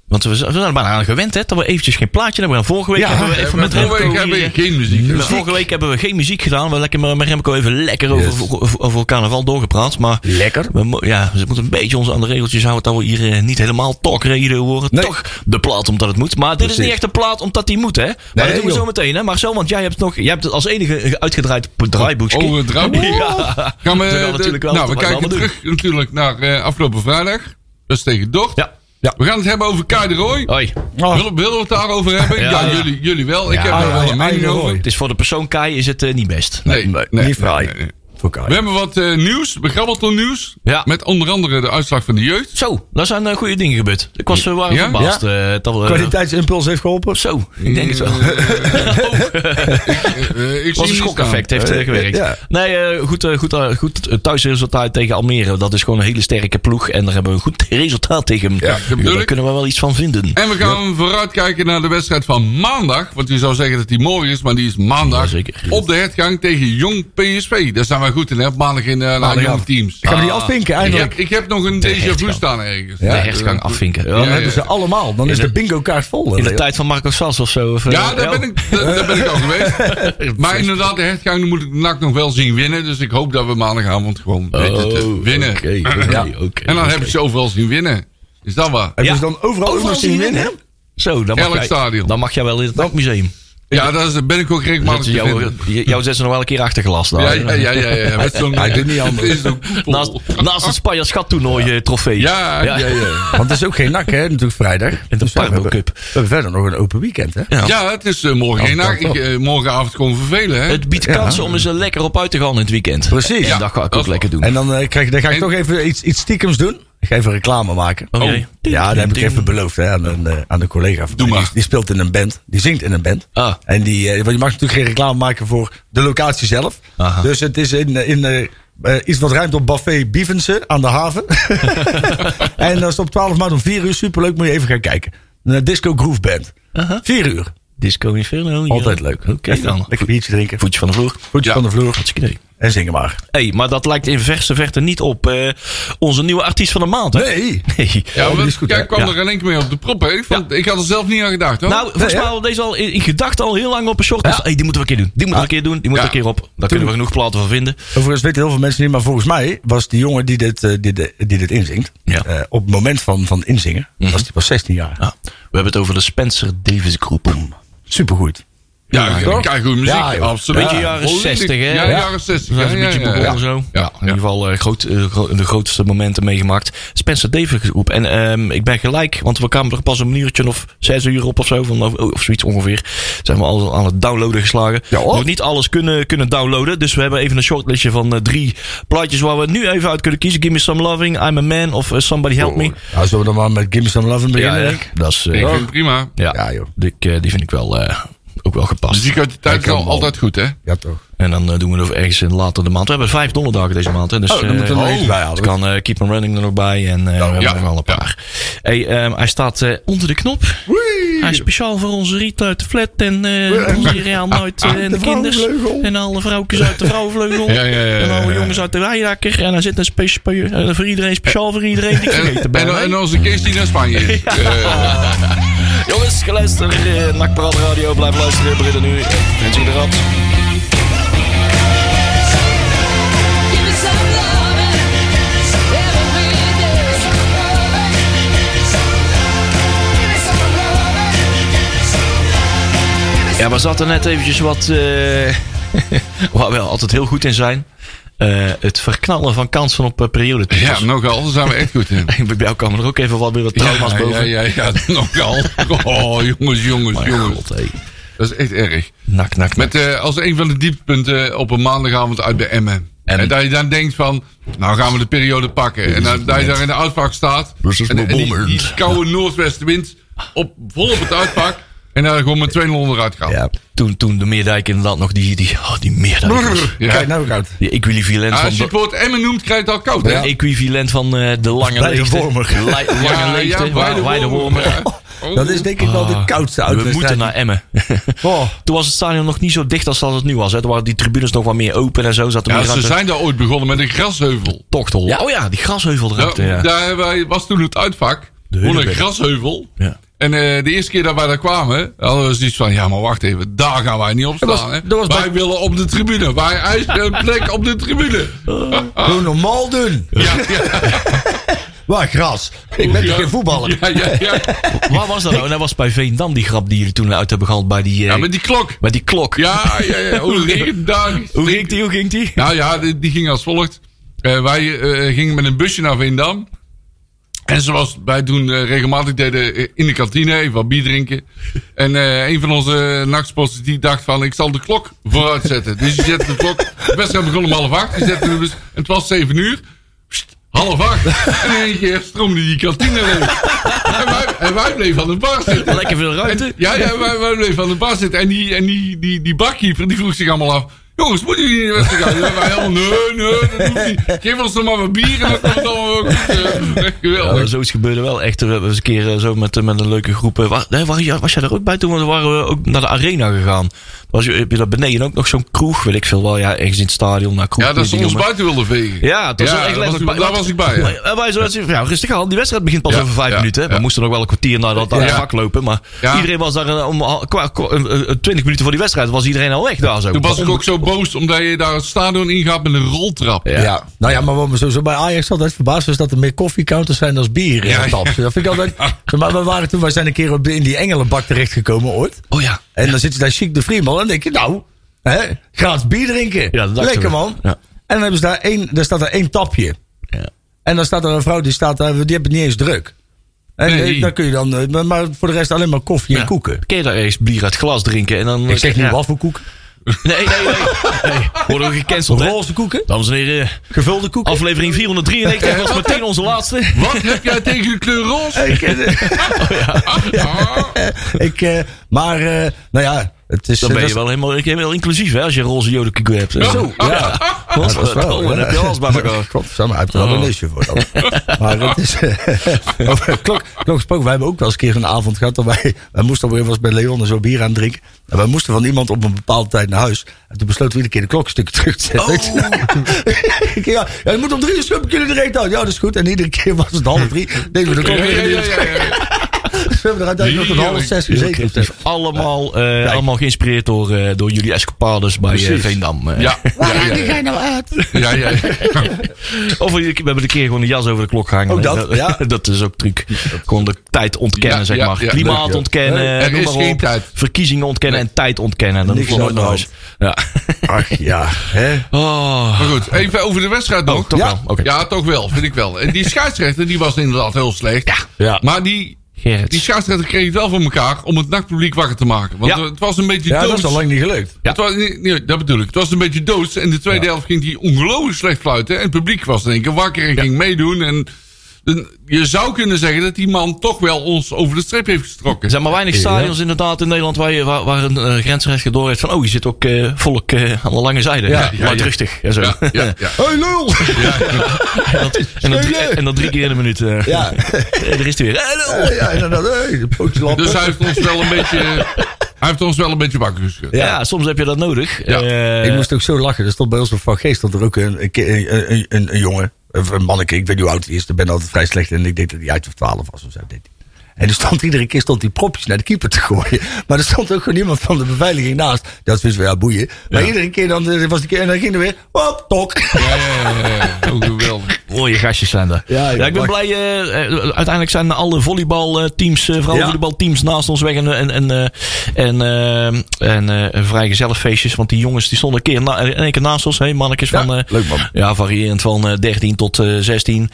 B: want we z- we zijn er bijna aan gewend, hè? Dat we eventjes geen plaatje hebben. Vorige week
C: Ja,
B: hebben we
D: Eh,
B: even
D: maar
B: met
D: vorige
B: Remco
D: week
B: hier,
D: heb
B: eh,
D: ik geen muziek.
B: Maar Vorige week hebben we geen muziek gedaan. We hebben lekker met met Remco even lekker over, over, over carnaval doorgepraat. Maar
C: Lekker.
B: We, mo- ja, we moeten een beetje ons aan de regeltjes houden. Dat we hier eh, niet helemaal talkradio horen.
C: Nee.
B: Toch de plaat omdat het moet. Maar dit is niet echt een plaat omdat die moet, hè? Maar dat doen we
C: joh.
B: zo meteen, hè? Marcel, want jij hebt, nog, jij hebt het als enige uitgedraaid op het draaiboekje.
D: Oh, het
B: [LAUGHS]
D: draaiboek.
B: Ja.
D: Gaan we,
B: We gaan
D: de-
B: natuurlijk wel
D: nou, we
B: wat
D: kijken
B: allemaal doen.
D: terug natuurlijk naar eh, afgelopen vrijdag. Dat is tegen Dort.
B: Ja.
D: We gaan het hebben over Kai de Roy.
B: Hoi.
C: Oh.
D: Willen, willen we het daarover hebben?
B: Ja,
D: Ja,
B: ja.
D: Jullie, jullie wel. Ik
B: Ja,
D: heb daar
C: ja,
D: wel
C: ja,
D: een mening
C: Kai de
D: over.
C: Roy.
B: Het is voor de persoon Kai is het eh, niet best.
D: Nee,
C: niet fraai. Voor Kai.
D: We hebben wat eh, nieuws, begrabbelton nieuws.
B: Ja.
D: Met onder andere de uitslag van de jeugd.
B: Zo, daar zijn eh, goede dingen gebeurd. Ik was eh, waren
D: Ja?
B: verbaasd. eh, dat we-
C: Kwaliteitsimpuls heeft geholpen.
B: Zo, ik denk het wel.
D: Eh, ik
B: Wat
D: zie
B: een
D: hem niet staan.
B: schokeffect heeft eh, gewerkt.
C: ja.
B: Nee, eh, goed, eh, goed, eh, goed thuisresultaat tegen Almere. Dat is gewoon een hele sterke ploeg. En daar hebben we een goed [LAUGHS] resultaat tegen. Ja,
D: bedoel
B: daar
D: ik.
B: kunnen we wel iets van vinden.
D: En we gaan vooruitkijken naar de wedstrijd van maandag. Want je zou zeggen dat die morgen is, maar die is maandag.
B: Ja, zeker.
D: Op de hertgang tegen Jong PSV. Daar zijn wij goed in, hè? Maandag in eh naar Jong
C: af.
D: Teams.
C: Gaan we die
B: Ah.
C: afvinken
D: Ik
C: eindelijk?
D: heb, ik heb nog een déjà vu
B: hertgang.
D: staan ergens.
B: de hertgang afvinken. Ja,
D: ja,
C: Dan hebben
D: ja.
C: ze allemaal. Dan is de bingo kaart vol.
B: In de tijd van Marco Sas of zo. Of, eh,
D: Ja, daar ben, ik, daar, daar ben ik al geweest.
B: [LAUGHS]
D: Maar inderdaad, de hertgang moet ik NAC nog wel zien winnen. Dus ik hoop dat we maandagavond gewoon weten te
B: Oh,
D: winnen.
B: Oké, oké,
C: Ja.
B: oké,
D: En dan
B: oké.
D: heb ik ze overal zien winnen. Is dat waar?
C: Hebben
B: Ja.
C: ze dan overal, ook nog zien winnen?
B: Zo, dan mag,
D: Elk
B: jij,
D: stadion.
B: dan mag jij wel in het museum.
D: Ja, daar is- ben ik ook regelmatig te
B: Jou,
D: vinden.
B: jou zet ze nog wel een keer achter glas. daar.
D: Ja, ja, ja, ja, ja. Met zo'n...
C: Hij doet niet anders.
D: Is zo'n koepel.
B: Naast, naast het Spanjaards toernooi eh, trofee.
D: Ja, ja, ja.
C: Want het is ook geen nak, hè? Natuurlijk vrijdag.
B: de
C: Dus ja, we
B: Parbo
C: hebben-
B: Cup.
C: We hebben verder nog een open weekend, hè?
B: Ja.
D: Ja, het is eh, morgen geen nacht. Ik, eh, morgenavond komen vervelen, hè?
B: Het biedt kansen om eens er lekker op uit te gaan in het weekend.
C: Precies.
B: En
C: Ja,
B: dat ga ik
D: dat
B: ook
D: is
B: lekker doen.
C: En dan, eh, krijg, dan ga ik
D: En-
C: toch even iets, iets stiekems doen. Ik ga even reclame maken. Oh.
B: Oké.
C: Ja, dat heb ik even beloofd hè, aan, een, eh, aan de collega. Van
D: Doe
C: mij.
D: maar.
C: Die, die speelt in een band. Die zingt in een band.
B: Ah.
C: En die, eh, want je mag natuurlijk geen reclame maken voor de locatie zelf.
B: Aha.
C: Dus het is in, in eh, eh, iets wat ruimt op Buffet Bievense aan de
B: [LAUGHS]
C: haven. [LAUGHS] en dat is op 12 maart om 4 uur. Superleuk, moet je even gaan kijken. Een disco groove band. 4 uur.
B: Disco Inferno. ja.
C: Altijd leuk.
B: Oké
C: Even
B: dan.
C: Lekker biertje drinken.
B: Voetje van de vloer.
C: Voetje
D: Ja.
C: van de vloer.
B: Hartstikke idee.
C: En zingen maar.
B: Hey, maar dat lijkt in verse verte niet op eh, onze nieuwe artiest van de maand. Hè?
C: Nee.
B: Nee.
D: Ja,
C: die
D: want
C: is goed,
D: jij
C: hè?
D: kwam
B: Ja.
D: er in één keer mee op de prop, hè? Ik, vond, ik had er zelf niet aan gedacht, hoor.
B: Nou, volgens mij hadden we deze al in, in gedachten al heel lang op een shortlist.
C: Ja.
B: Hey, die moeten we een keer doen. Die moeten we een keer doen. Die moeten we een keer op. Daar kunnen we genoeg platen van vinden.
C: Overigens weten heel veel mensen niet, maar volgens mij was die jongen die dit, eh, die, de- die dit inzingt,
B: Ja. Mhm.
C: eh, op het moment van, van inzingen, was hij pas 16 jaar.
B: Ah, we hebben het over de Spencer Davis Groep.
C: Supergoed.
D: ja,
C: toch?
D: ik krijg goede muziek,
C: Ja, joh.
D: absoluut.
B: Beetje jaren
D: Volledig.
B: 60, hè?
D: Ja,
B: Ja.
D: jaren 60.
B: Dat
D: Ja,
B: is een
D: ja,
B: beetje
D: ja,
B: begonnen
D: ja.
B: zo.
D: Ja,
B: in ieder
D: ja.
B: geval eh, groot, eh, gro- de grootste momenten meegemaakt. Spencer Davis groep. En ehm, ik ben gelijk, want we kwamen er pas een uurtje of zes uur op of zo. Van, of, of zoiets ongeveer. Zijn we al aan het downloaden geslagen.
C: Ja, hoor.
B: Nog niet alles kunnen, kunnen downloaden. Dus we hebben even een shortlistje van eh, drie plaatjes waar we nu even uit kunnen kiezen. Give me some loving, I'm a man of eh, somebody help me.
C: Nou, zullen we dan maar met Gimme Some Love beginnen,
B: hè?
C: denk ik?
B: dat is... eh,
D: Ik
B: ja,
D: vind het prima.
C: Ja, joh.
B: Die, eh, die vind ik wel... eh, ook wel gepast.
D: Muziek uit die tijd is al- altijd goed, hè?
C: Ja, toch.
B: En dan eh, doen we het over ergens in later de maand. We hebben vijf donderdagen deze maand. Hè, dus,
C: Oh, dan
B: eh,
C: moeten we er
D: oh,
C: nog iets bij halen.
B: Het kan eh, Keep on Running er nog bij. En eh, we hebben
D: Nou, ja,
B: er nog wel een
D: ja.
B: paar. Hey, ehm, hij staat eh, onder de knop. Hij is speciaal voor onze Riet uit de flat. En eh onze Rian
D: [LAUGHS]
B: uit eh, en de, kinders.
C: vrouwenvleugel.
B: En alle vrouwtjes uit de vrouwenvleugel.
D: Ja, ja, ja, ja,
B: en alle
D: ja, ja.
B: jongens uit de weidakker. En hij zit een spe- spe- eh, voor iedereen, speciaal voor iedereen. Die ik
D: En,
B: vergeten ben.
D: en, en onze Kees die naar Spanje
B: [LAUGHS]
D: is. Eh,
B: Jongens, geluister. eh, Nakpraat Radio, blijf luisteren. Britten nu. En zie de rat.
E: Give me some love every day. Give me some love.
B: Ja, maar zat er net eventjes wat. eh [LAUGHS] waar we altijd heel goed in zijn. Eh, het verknallen van kansen op eh, periode.
D: ja, nogal. Daar zijn we echt goed in.
B: [LAUGHS] Bij jou kwamen er ook even wat weer wat trauma's
D: Ja, ja,
B: boven.
D: ja, ja, [LAUGHS]
B: [LAUGHS]
D: nogal. Oh, jongens, jongens,
B: Maar
D: jongens.
B: god, hé.
D: Dat is echt erg.
B: Nak, nak, nak.
D: Met eh, als een van de dieptepunten eh, op een maandagavond uit de Emmen.
B: En-
D: En, dat je dan denkt van, nou gaan we de periode pakken. En dan, dat je daar in de uitvak staat.
B: Dit is
D: en,
B: mijn
D: en die,
B: moment.
D: die koude noordwestenwind op, vol op het uitvak. En daar gewoon met 2-0 onderuit gaat.
C: Ja.
B: Toen, toen de Meerdijk inderdaad nog die. die oh, die Meerdijk. was-
D: Ja.
C: Kijk nou ook uit.
B: Die equivalent
D: Ah,
B: van.
D: als je het
B: De,
D: woord Emmen noemt, krijg je het al koud.
B: de
D: hè?
B: equivalent van eh, de lange
C: Bij de
B: leegte.
C: Wormer.
B: Li- Lange
D: Ja,
B: leegte.
D: ja,
B: waar- waar de
D: Weidewormer.
B: Wormer.
D: Oh.
C: Dat is denk ik wel de
B: Ah,
C: koudste
B: We
C: uitwedstrijd.
B: moeten naar
D: [LAUGHS]
B: Emmen.
C: Oh.
B: Toen was het stadion nog niet zo dicht als dat het nu was. Hè. Toen waren die tribunes nog wat meer open en zo. Zat er
D: Ja,
B: meer
D: ze
B: ruimte.
D: zijn daar ooit begonnen met een grasheuvel.
B: tochtel. Ja, oh ja, die grasheuvelruimte.
D: Ja,
B: Ja, ja.
D: Nou, Daar hebben wij- was toen het uitvak. Gewoon een
B: Hunebedden.
D: grasheuvel.
B: Ja.
D: En eh, de eerste keer dat wij daar kwamen, hadden we zoiets van... Ja, maar wacht even, daar gaan wij niet op staan.
C: was-
D: hè.
C: dat was
D: wij
C: bij-
D: willen op de tribune. Wij eisen een plek op de tribune.
C: Doe normaal doen.
D: Ja, ja,
C: Waar gras. Ik ben toch
D: Ja.
C: geen voetballer.
D: ja, ja, ja.
B: Waar was dat
D: [LAUGHS]
B: nou? Dat was bij Veendam die grap die jullie toen uit hebben gehaald bij die, eh,
D: Ja, met die klok.
B: bij die klok.
D: Ja, ja, ja. Hoe legendarisch.
B: Hoe ging die? Hoe ging die?
D: Nou [LAUGHS] ja, die, die ging als volgt. Eh, wij eh, gingen met een busje naar Veendam. En zoals wij toen eh, regelmatig deden eh, in de kantine, even wat bier drinken. En eh, een van onze nachtsposters die dacht van, ik zal de klok vooruit zetten. Dus die zette de klok, de wedstrijd begon om half acht. Die zette de bus, en het was zeven uur. Pst, half acht. En in één keer stroomde die kantine leeg. En wij, en wij bleven aan de bar zitten.
B: Lekker veel ruimte.
D: En- ja, ja, wij, wij bleven aan de bar zitten. En die, en die, die, die bakkeeper die vroeg zich allemaal af. Jongens, moeten jullie niet naar de wedstrijd gaan? Ja, wij helemaal, nee, nee, dat hoeft niet. Geef ons nog maar wat bier en dan komt het allemaal wel goed. Eh,
B: Ja,
D: Geweldig.
B: maar zoiets gebeurde wel echt. We hebben eens een keer eh, zo met, eh, met een leuke groep. eh, wa- nee, was, jij- was jij er ook bij toen? Want we waren eh, ook naar de arena gegaan. Was, je- heb je daar beneden ook nog zo'n kroeg? Weet ik veel wel. Ja, ergens in het stadion. Naar kroeg,
D: Ja, dat ze
B: die
D: ons
B: noemen.
D: buiten wilden vegen.
B: Ja, het was wel echt
D: daar was,
B: letterlijk
D: ik-
B: bij-
D: daar was ik bij. hè.
B: En wij zo, [LAUGHS] ja, rustig aan, die wedstrijd begint pas
D: Ja,
B: over vijf
D: ja,
B: minuten. hè. We
D: ja.
B: moesten nog wel een kwartier naar dat aan het
D: Ja.
B: vak lopen. Maar
D: Ja.
B: iedereen was daar eh, om, al- kwa- kwa- eh, eh, twintig minuten voor die wedstrijd was iedereen al weg daar zo.
D: Toen was ik ook zo boos omdat je daar het stadion ingaat met een roltrap.
C: Ja. nou ja, maar wat me sowieso bij Ajax altijd verbaasd is dat er meer koffiecounters zijn dan bier in
D: Ja,
C: de tap. Dat vind ik
B: [LAUGHS]
C: altijd. Maar we waren toen, wij zijn een keer op- in die engelenbak terechtgekomen ooit.
B: Oh ja.
C: En dan zit je daar chic de Friemel en denk je, nou, hè, gratis bier drinken.
B: Ja, dat dachten
C: Lekker
B: we.
C: man.
B: Ja.
C: En dan hebben ze daar één, daar staat er één tapje.
B: Ja.
C: En dan staat er een vrouw die staat daar, die hebben het niet eens druk. En
D: Nee.
C: eh, dan kun je dan, eh, maar- maar voor de rest alleen maar koffie en koeken.
B: Kun je daar eerst bier uit glas drinken en dan...
C: Ik zeg niet
B: ja.
C: waffelkoeken,
B: Nee, nee, nee. nee. Worden we gecanceld, hè?
C: roze koeken,
B: Dames en heren,
C: gevulde koeken.
B: aflevering 493 was meteen onze laatste.
D: Wat heb jij tegen de kleur roze?
C: [LAUGHS] Ik, eh, [LAUGHS]
D: Ah,
C: ik, eh, maar, eh, nou ja, het is...
B: Dan
C: eh,
B: ben
C: dat
B: je wel helemaal, helemaal inclusief, hè? Als je roze jodenkieken hebt.
C: Zo, ja.
B: Want,
C: dat is
B: [LAUGHS]
C: wel,
B: dan
C: ja.
B: heb je alles bij elkaar.
C: [LAUGHS]
B: Oh.
C: Klopt, zo, maar hij heeft er wel een lusje voor.
B: [LAUGHS]
C: dan. Maar dat is. eh, [LAUGHS] over klok, klok gesproken, wij hebben ook wel eens een keer een avond gehad. Dat wij, [LAUGHS] wij moesten alweer was bij Leon en zo bier aan drinken. En wij moesten van iemand op een bepaalde tijd naar huis. En toen besloten we iedere keer de klok een stukje terug te zetten. Ik
B: Oh.
C: zei, [LAUGHS] ik, ja, ja, je moet om drie uur schuppen, kunnen er uit. Ja, dat is goed. En iedere keer was het half drie. Deden we de klok
D: ja,
C: weer.
D: ja,
C: in de
D: ja,
C: uur.
D: ja, ja.
C: Dus we hebben er uiteindelijk tot half zes gezeten.
B: Het is allemaal, eh, allemaal geïnspireerd door, eh, door jullie escapades bij eh, Veendam. eh.
D: Ja, ja, ja, ja.
C: jij nou uit?
D: Ja, ja, ja.
B: Of eh, we we hebben een keer gewoon een jas over de klok gehangen.
C: Ook dat,
B: hè.
C: ja.
B: [LAUGHS] dat is ook truc. Gewoon de tijd ontkennen,
D: Ja,
B: zeg
D: ja,
B: maar.
D: ja.
B: Klimaat
C: Leuk, ja.
B: ontkennen,
D: Nee, er
B: noem
D: is
B: maar
D: geen
B: op.
D: tijd.
B: verkiezingen ontkennen en tijd ontkennen. Dan
C: Niks
B: hoef je nooit
C: aan de
B: naar huis. Ja.
C: Ach ja, hè?
B: [LAUGHS] Oh,
D: Maar goed, even over de wedstrijd nog.
B: toch
C: Ja.
B: wel. Oké.
D: Ja, toch wel, vind ik wel. En
B: [LAUGHS]
D: die scheidsrechter, die was inderdaad heel slecht.
B: Ja.
D: Maar die,
B: Gerrit.
D: die scheidsrechter kreeg het wel voor elkaar om het nachtpubliek wakker te maken. Want
B: Ja.
D: het was een beetje
C: Ja,
D: doods.
C: dat is al lang niet gelukt.
D: Het was, nee, nee, dat bedoel ik. Het was een beetje doods. En de tweede helft ging die ongelooflijk slecht fluiten. En het publiek was in één keer wakker en ging meedoen. En en je zou kunnen zeggen dat die man toch wel ons over de streep heeft
B: Er
D: getrokken.
B: zijn maar weinig stadions inderdaad in Nederland waar, je, waar, waar een eh, grensrechter door heeft van... oh, hier zit ook eh, volk eh, aan de lange zijde.
C: Ja,
B: Ja,
D: ja,
B: luidruchtig en zo.
D: Ja, ja, ja.
C: Hey lul!
B: En, dat, [LAUGHS] en, dat, drie-
C: Spelen!
B: en dat drie keer in een minuut. [LAUGHS] eh.
C: Ja.
B: Er is hij weer. Hey, lul!
C: Ja, ja, inderdaad. Hey, de pootjes lappen.
D: Dus hij heeft ons wel een beetje, hij heeft ons wel een beetje wakker geschud.
B: Ja. soms heb je dat nodig.
D: Ja.
B: Eh,
C: ik moest ook zo lachen. Er stond bij ons op Van Geest stond er ook een, een, ki- een, een, een, een jongen. Of een manneke. Ik weet niet hoe oud hij is. Ik ben altijd vrij slecht. En ik denk dat hij uit of 12 was of zo. Deed hij. En er stond iedere keer stond die propjes naar de keeper te gooien. [LAUGHS] Maar er stond ook gewoon iemand van de beveiliging naast. Dat wist wel ja, boeien. Maar iedere keer dan eh, was die keer. En dan ging er weer. Hop, tok. [LAUGHS]
D: Ja, ja, ja, ja. Oh, geweldig.
B: Mooie gastjes zijn daar.
C: Ja,
B: Ja,
C: joh,
B: ik ben
C: wacht.
B: blij. eh, eh, uiteindelijk zijn alle volleybalteams, eh vooral
C: Ja.
B: volleybalteams naast ons weg. En, eh, en, en, eh, en, eh, en eh, vrijgezellenfeestjes. Want die jongens die stonden een keer, na, in één keer naast ons. Hey, mannetjes van, eh,
C: leuk, man.
B: ja, variërend van eh, 13 tot eh, 16.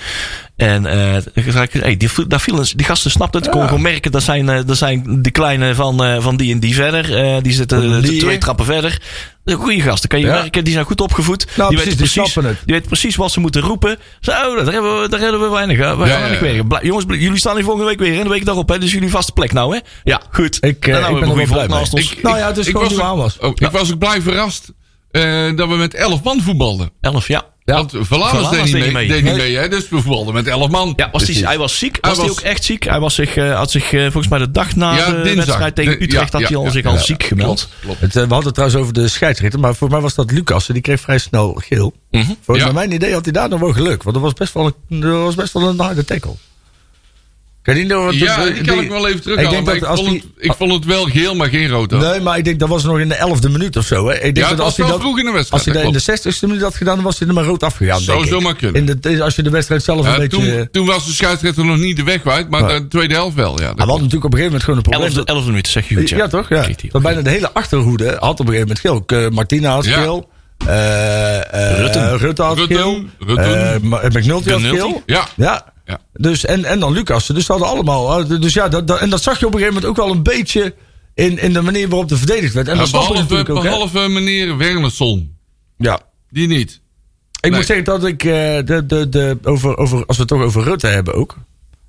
B: En eh, ik zei, hey, die, daar viel een- die gasten snapten het. Ik kon gewoon merken, dat zijn, eh, dat zijn de kleine van, eh, van die en die verder. Eh, die zitten
C: Die-
B: twee trappen verder. Goede gasten, kan je
C: Ja.
B: merken. Die zijn goed opgevoed.
C: Nou,
B: die
C: precies,
B: weten
C: die snappen het.
B: die weet precies wat ze moeten roepen. Zo, daar hebben we, daar hebben we weinig. eh, We
D: Ja,
B: gaan
D: ja,
B: weinig
D: ja.
B: werken. Blij- jongens, bl- jullie staan hier volgende week weer. En de week daarop. Hè? Dus jullie vaste plek nou, hè? Ja, goed.
C: Ik, eh,
B: Nou, nou,
C: ik
B: we
C: ben er
B: hebben
C: wel
B: een
C: blij
B: naast
C: mee.
B: ons.
C: Ik- Nou ja, het is gewoon
D: was
C: die
D: ook-
C: waan was.
D: oh, Ik was ook blij verrast eh, dat we met 11 man voetbalden.
B: Elf, ja.
D: Want Verlanas deed niet mee. Deed niet mee hè? Dus we voetbalden met 11 man. Dus-
B: Ja, was die,
D: Precies.
B: hij was ziek.
D: Hij
B: Was hij
D: was-
B: ook echt ziek? Hij was zich, eh, had zich eh, volgens mij de dag na
D: Ja,
B: de
D: dinsdag.
B: wedstrijd tegen
D: De-
B: Utrecht...
D: ja,
B: had hij
D: ja,
B: al
D: ja,
B: zich
D: ja,
B: al
D: ja,
B: ziek gemeld.
D: Klopt.
C: Het, eh, we hadden het trouwens over de scheidsrechter. Maar voor mij was dat Lucas. Die kreeg vrij snel geel. Volgens
D: Mhm. Ja.
C: mij mijn idee had hij daar nog wel geluk. Want dat was best wel een, dat was best wel een harde tackle. Kan dus die nog...
D: Ja, die kan ik wel even terughalen.
C: denk
D: maar
C: dat
D: Ik,
C: als
D: vond,
C: die-
D: het, ik vond het wel geel, maar geen rood. hoor.
C: Nee, maar ik denk dat was nog in de 11e minuut of zo. Hè. Ik denk
D: Ja,
C: dat
D: het was
C: als hij
D: wel
C: dat,
D: vroeg in de wedstrijd,
C: Als hij
D: dat
C: dat in de 60e minuut had gedaan, dan was hij er maar rood afgegaan.
D: Zou
C: denk ik.
D: zomaar kunnen.
C: In de, als je de wedstrijd zelf
D: Ja,
C: een beetje. eh,
D: toen, toen was de scheidsrechter nog niet de weg kwijt, maar
C: Nee.
D: de tweede helft wel. Ja,
C: maar we hadden natuurlijk op een gegeven moment gewoon een probleem.
B: Elf,
C: dat-
B: elf minuten, zeg je goed.
C: ja, toch? Ja.
B: Kreeg hij.
C: Dat bijna de hele achterhoede had op een gegeven moment geel. Ook, eh, Martina had
D: Ja.
C: geel. eh, eh,
B: Rutten.
C: Rutte had
D: Rutten,
C: geel.
D: Rutten.
C: eh, Ma- eh, McNulty had
B: McNulty.
C: geel.
D: Ja.
C: ja.
D: Ja.
C: Dus, en, en dan Lucas. Dus ze hadden allemaal. eh, Dus ja, dat, dat- en dat zag je op een gegeven moment ook wel een beetje in, in de manier waarop er verdedigd werd. En dat snap ik
D: behalve,
C: natuurlijk ook. hè.
D: behalve meneer Wernersson.
C: Ja.
D: Die niet.
C: Ik
D: Nee.
C: moet zeggen dat ik, eh, de, de, de, over, over, als we het toch over Rutte hebben ook,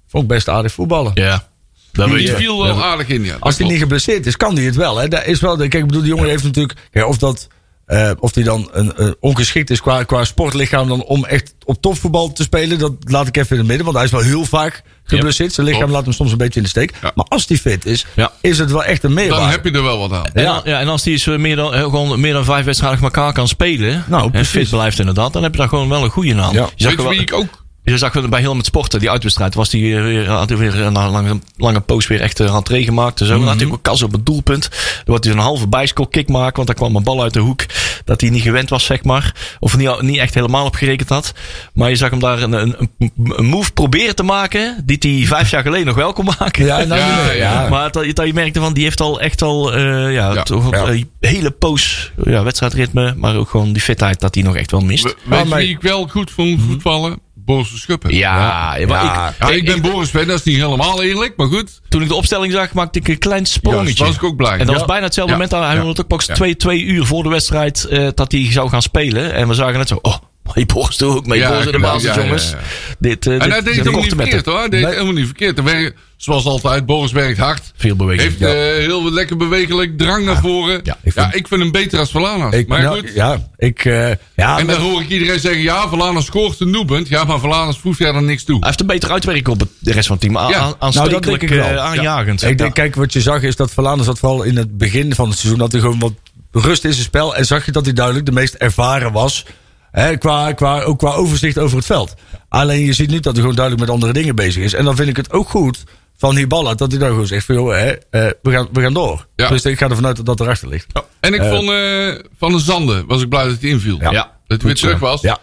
C: vond ik best aardig voetballen.
B: Ja. Dat weet
D: Die
B: je.
D: viel wel aardig in, ja. dat
C: Als hij niet
D: klopt.
C: geblesseerd is, kan hij het wel. Hè? Daar is wel de- kijk, ik bedoel, die jongen heeft natuurlijk, ja, of dat, eh, of die dan een, een ongeschikt is qua, qua sportlichaam dan om echt op topvoetbal te spelen, dat laat ik even in het midden, want hij is wel heel vaak geblesseerd. Zijn lichaam
D: klopt.
C: laat hem soms een beetje in de steek.
D: Ja.
C: Maar als hij fit is,
B: Ja.
C: is het wel echt een meerwaarde.
D: Dan heb je er wel wat aan.
B: En,
C: Ja.
B: ja. ja, en als die eens eh, meer dan, eh, gewoon meer dan vijf wedstrijden achter elkaar kan spelen.
C: Nou,
B: en
C: precies.
B: fit blijft inderdaad. Dan heb je daar gewoon wel een goede naam. Je
C: Ja.
B: zag
D: Weet je
B: wel-
D: wie ik ook
B: Je zag wel bij heel met sporten, die uitwedstrijd, was die eh, weer, had hij weer na een lange, lange poos weer echt eh, rentree gemaakt. en Zo. Dan had hij ook een kans op het doelpunt. Dan had hij zo'n halve bijscore kick maken, want daar kwam een bal uit de hoek. Dat hij niet gewend was, zeg maar. Of niet, niet echt helemaal op gerekend had. Maar je zag hem daar een, een, een move proberen te maken, die hij vijf jaar geleden nog wel kon maken. [LAUGHS]
C: Ja, nou,
D: Ja, ja.
B: Maar dat, dat je merkte van, die heeft al echt al eh, ja,
D: Ja,
B: toch
C: ja.
B: een hele poos ja, wedstrijdritme. Maar ook gewoon die fitheid dat hij nog echt wel mist.
D: We- Weet je
C: maar- Mhm.
D: wie ik wel goed vond voetballen? Boris de Schuppen.
B: ja, ja, maar
C: Ja.
B: Ik,
D: Ja,
B: ik-
D: ik ben Boris fan, dat is niet helemaal eerlijk, maar goed.
B: Toen ik de opstelling zag, maakte ik een klein
D: Juist,
B: sprongetje.
D: was ik ook blij.
B: En dat
D: Ja.
B: was bijna hetzelfde
D: Ja.
B: moment. dat Hij
D: Ja.
B: wilde het ook pas
D: Ja.
B: twee, twee uur voor de wedstrijd eh, dat hij zou gaan spelen. En we zagen net zo, oh, die Boris doet ook mee.
D: Ja,
B: Boris in de
D: klopt.
B: basis,
D: Ja, ja, ja.
B: jongens. Dit, eh,
D: En
B: dit
D: hij deed
B: zijn
D: het ook niet
B: korte
D: verkeerd
B: metten.
D: hoor. Hij deed het helemaal niet verkeerd. Er werkt, zoals altijd, Boris werkt hard.
B: Veel beweging.
D: Heeft eh, heel lekker bewegelijk drang naar voren. Ja,
C: Ja,
D: ik
C: ik
D: vind,
C: vind-
D: hem beter als Valanas.
C: Ik,
D: maar
C: nou,
D: goed.
C: ja, ik, eh, ja,
D: En
C: maar-
D: dan hoor ik iedereen zeggen, ja, Valanas scoort een doelpunt. Ja, maar Valanas voegt daar dan niks toe.
B: Hij heeft een beter uitwerking op het- de rest van het team. A-
D: Ja.
B: aan-
D: Nou,
B: aanstekelijk,
C: dat denk ik wel.
B: eh, aanjagend.
C: Ik denk, kijk, wat je zag is dat Verlaanders zat vooral in het begin van het seizoen. Dat hij gewoon wat rust in zijn spel. En zag je dat hij duidelijk de meest ervaren was. Hè, qua, qua, ook qua overzicht over het veld. Alleen je ziet nu dat hij gewoon duidelijk met andere dingen bezig is. En dan vind ik het ook goed van Hiballa dat hij daar gewoon zegt: van, joh, hè, eh, we, gaan, we gaan door.
D: Ja.
C: Dus ik ga ervan uit dat dat erachter ligt.
D: En ik
C: Eh.
D: vond eh, Van de Zanden, was ik blij dat hij inviel.
C: Ja.
D: Dat hij weer
B: Goed zo.
D: terug was.
C: Ja.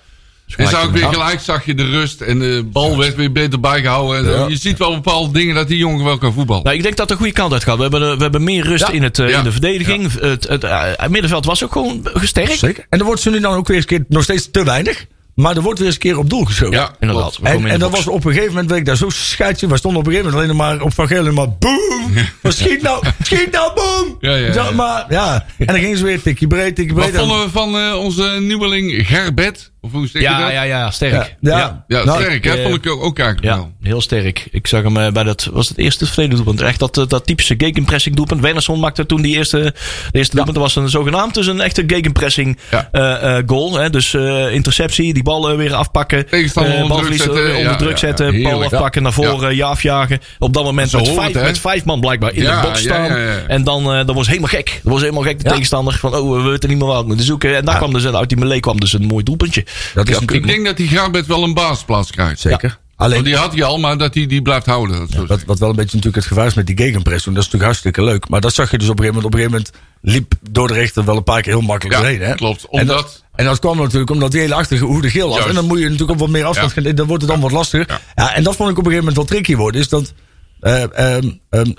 D: En zou ik weer
C: Ja.
D: gelijk, zag je de rust en de bal werd weer beter bijgehouden. En zo.
C: Ja.
D: Je ziet wel bepaalde dingen dat die jongen wel kan voetballen.
B: Nou, ik denk dat het de goede kant uit gaat. We hebben, eh, we hebben meer rust
C: Ja.
B: in, het, eh,
D: Ja.
B: in de verdediging. Het, het, eh, het middenveld was ook gewoon gesterkt.
C: Zeker. En er wordt ze nu dan ook weer eens een keer nog steeds te weinig. Maar er wordt weer eens een keer op doel geschoten.
D: Ja,
B: Inderdaad. We
C: En,
B: komen in
C: en
B: de
C: dat
B: box.
C: was op een gegeven moment, weet ik daar zo scheidje. We stonden op een gegeven moment alleen maar op Van Gelen, maar boom! Maar schiet nou, schiet nou, boom!
D: Ja, ja, ja.
C: Maar, ja. En dan gingen ze weer tikkie breed, tikkie
D: Wat
C: breed.
D: vonden we van eh, onze nieuweling Gerbert? Of hoe zeg je
B: Ja,
D: dat?
B: ja, ja,
C: Ja,
B: sterk.
C: ja.
B: ja.
D: Ja,
C: Nou,
D: sterk, hè?
B: eh,
D: Vond ik ook, ook eigenlijk
B: Ja,
D: wel.
B: heel sterk. Ik zag hem eh, bij dat, was het eerste of tweede doelpunt. Echt dat, eh, dat typische gegenpressing doelpunt. Wernersson maakte toen die eerste, de eerste doelpunt. Dat was een zogenaamd dus een echte gegenpressing
D: Ja.
B: eh, eh, goal. Hè. Dus eh, interceptie, die bal eh, weer afpakken.
D: Tegenstander
B: Eh,
D: onder
B: balverlies,
D: druk
B: eh,
D: zetten.
B: onder
D: Ja,
B: druk
D: ja,
B: zetten,
D: ja.
B: bal
D: Heerlijk.
B: afpakken, naar voren, eh, ja afjagen. Op dat moment
D: Zo
B: met
D: hoort
B: vijf,
D: het, hè?
B: met vijf man blijkbaar in
D: Ja,
B: de box
D: ja,
B: staan.
D: ja, ja.
B: En dan, eh, dat was helemaal gek. Dat was helemaal gek, de
C: Ja.
B: tegenstander. Van, oh, we weten niet meer wat we moeten zoeken. En daar kwam dus, uit die melee kwam dus een mooi doelpuntje.
C: Dat is
B: Ja,
D: Ik
C: natuurlijk
D: denk dat die Gerbert wel een baasplaats krijgt.
C: zeker.
D: Want
C: Alleen,
D: die had hij al, maar dat hij die blijft houden. Dat zou ik
C: wat,
D: zeggen.
C: wat wel een beetje natuurlijk het gevaar is met die gegenpress doen, dat is natuurlijk hartstikke leuk. Maar dat zag je dus op een gegeven moment. Op een gegeven moment liep door de rechter wel een paar keer heel makkelijk
D: Ja,
C: doorheen. Hè?
D: klopt.
C: En
D: Omdat-
C: dat, en dat kwam natuurlijk omdat die hele achterhoede geel was.
D: Juist.
C: En dan moet je natuurlijk op wat meer afstand
D: Ja.
C: gaan. Dan wordt het dan wat lastiger.
D: Ja.
C: Ja. en dat vond ik op een gegeven moment wel tricky worden. Is dat, eh, ehm, ehm,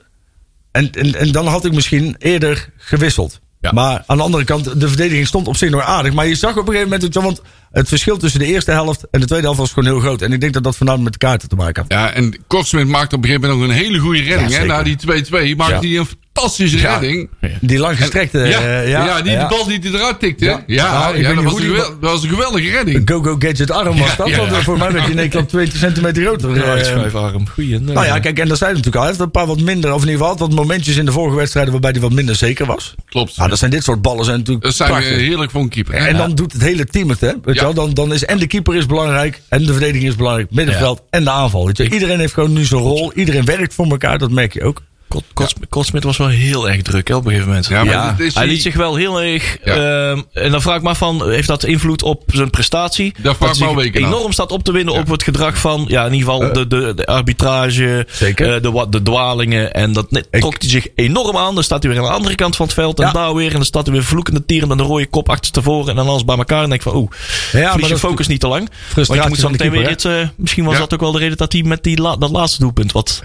C: en, en, en dan had ik misschien eerder gewisseld.
B: Ja.
C: Maar aan de andere kant, de verdediging stond op zich nog aardig. Maar je zag op een gegeven moment, het, want het verschil tussen de eerste helft en de tweede helft was gewoon heel groot. En ik denk dat dat voornamelijk met de kaarten te maken had.
D: Ja, en Kortsmit maakt op een gegeven moment nog een hele goede redding. hè?
C: zeker.
D: Na die 2-2 maakt
C: Ja.
D: hij een fantastische
C: Ja.
D: redding.
C: Die langgestrekte.
D: ja,
C: eh,
D: ja, die de bal die hij eruit tikte. hè? Ja,
C: Ja. Nou, ik weet
D: ja, dat,
C: niet
D: was
C: hoe
D: een
C: die
D: gewel-
C: bal-
D: dat was een geweldige redding.
C: Go-go gadget arm was dat.
D: ja,
C: want
D: ja.
C: Voor mij werd je in één klap 20 centimeter groter.
B: Ja, ik
C: eh,
B: schuif arm. Goeie. nee.
C: Nou ja, kijk, en dat zei hij natuurlijk al. Hij heeft een paar wat minder, of in ieder geval had wat momentjes in de vorige wedstrijden waarbij hij wat minder zeker was.
D: Klopt.
C: Nou, dat zijn dit soort ballen zijn natuurlijk
D: Dat zijn eh,
C: prachtig.
D: heerlijk voor een keeper. hè?
C: en dan doet het hele team het, hè? Weet je
D: Ja.
C: wel? Dan, dan is en de keeper is belangrijk, en de verdediging is belangrijk, middenveld en de aanval. Weet je? wel? Iedereen heeft gewoon nu zijn rol, iedereen werkt voor elkaar, dat merk je ook.
B: Kot- Kots- Kotsmit was wel heel erg druk hè, op een gegeven moment.
D: Ja, maar
C: Ja.
D: dit is
B: Hij
D: die-
B: liet zich wel heel erg.
D: Ja.
B: ehm, en dan vraag ik me af van, heeft dat invloed op zijn prestatie?
D: Daar vraag ik me
B: hij
D: al
B: zich
D: weken af. Eh.
B: enorm staat op te winnen op het gedrag van, ja, in ieder geval de, de, de arbitrage,
C: Zeker.
B: eh, de, wa- de dwalingen. En dat net-
C: Ik-
B: trok hij zich enorm aan. Dan staat hij weer aan de andere kant van het veld. En
C: Ja.
B: daar weer. En dan staat hij weer vloekende tieren en een rode kop achterstevoren. En dan alles bij elkaar. En denk ik van, oeh,
C: maar
B: verlies je
C: dat-
B: focus niet te lang. Want je
C: Frustratie
B: moet zo
C: van de
B: meteen weer
C: keeper,
B: dit, eh, misschien was
D: Ja.
B: dat ook wel de reden dat hij met die la- dat laatste doelpunt wat...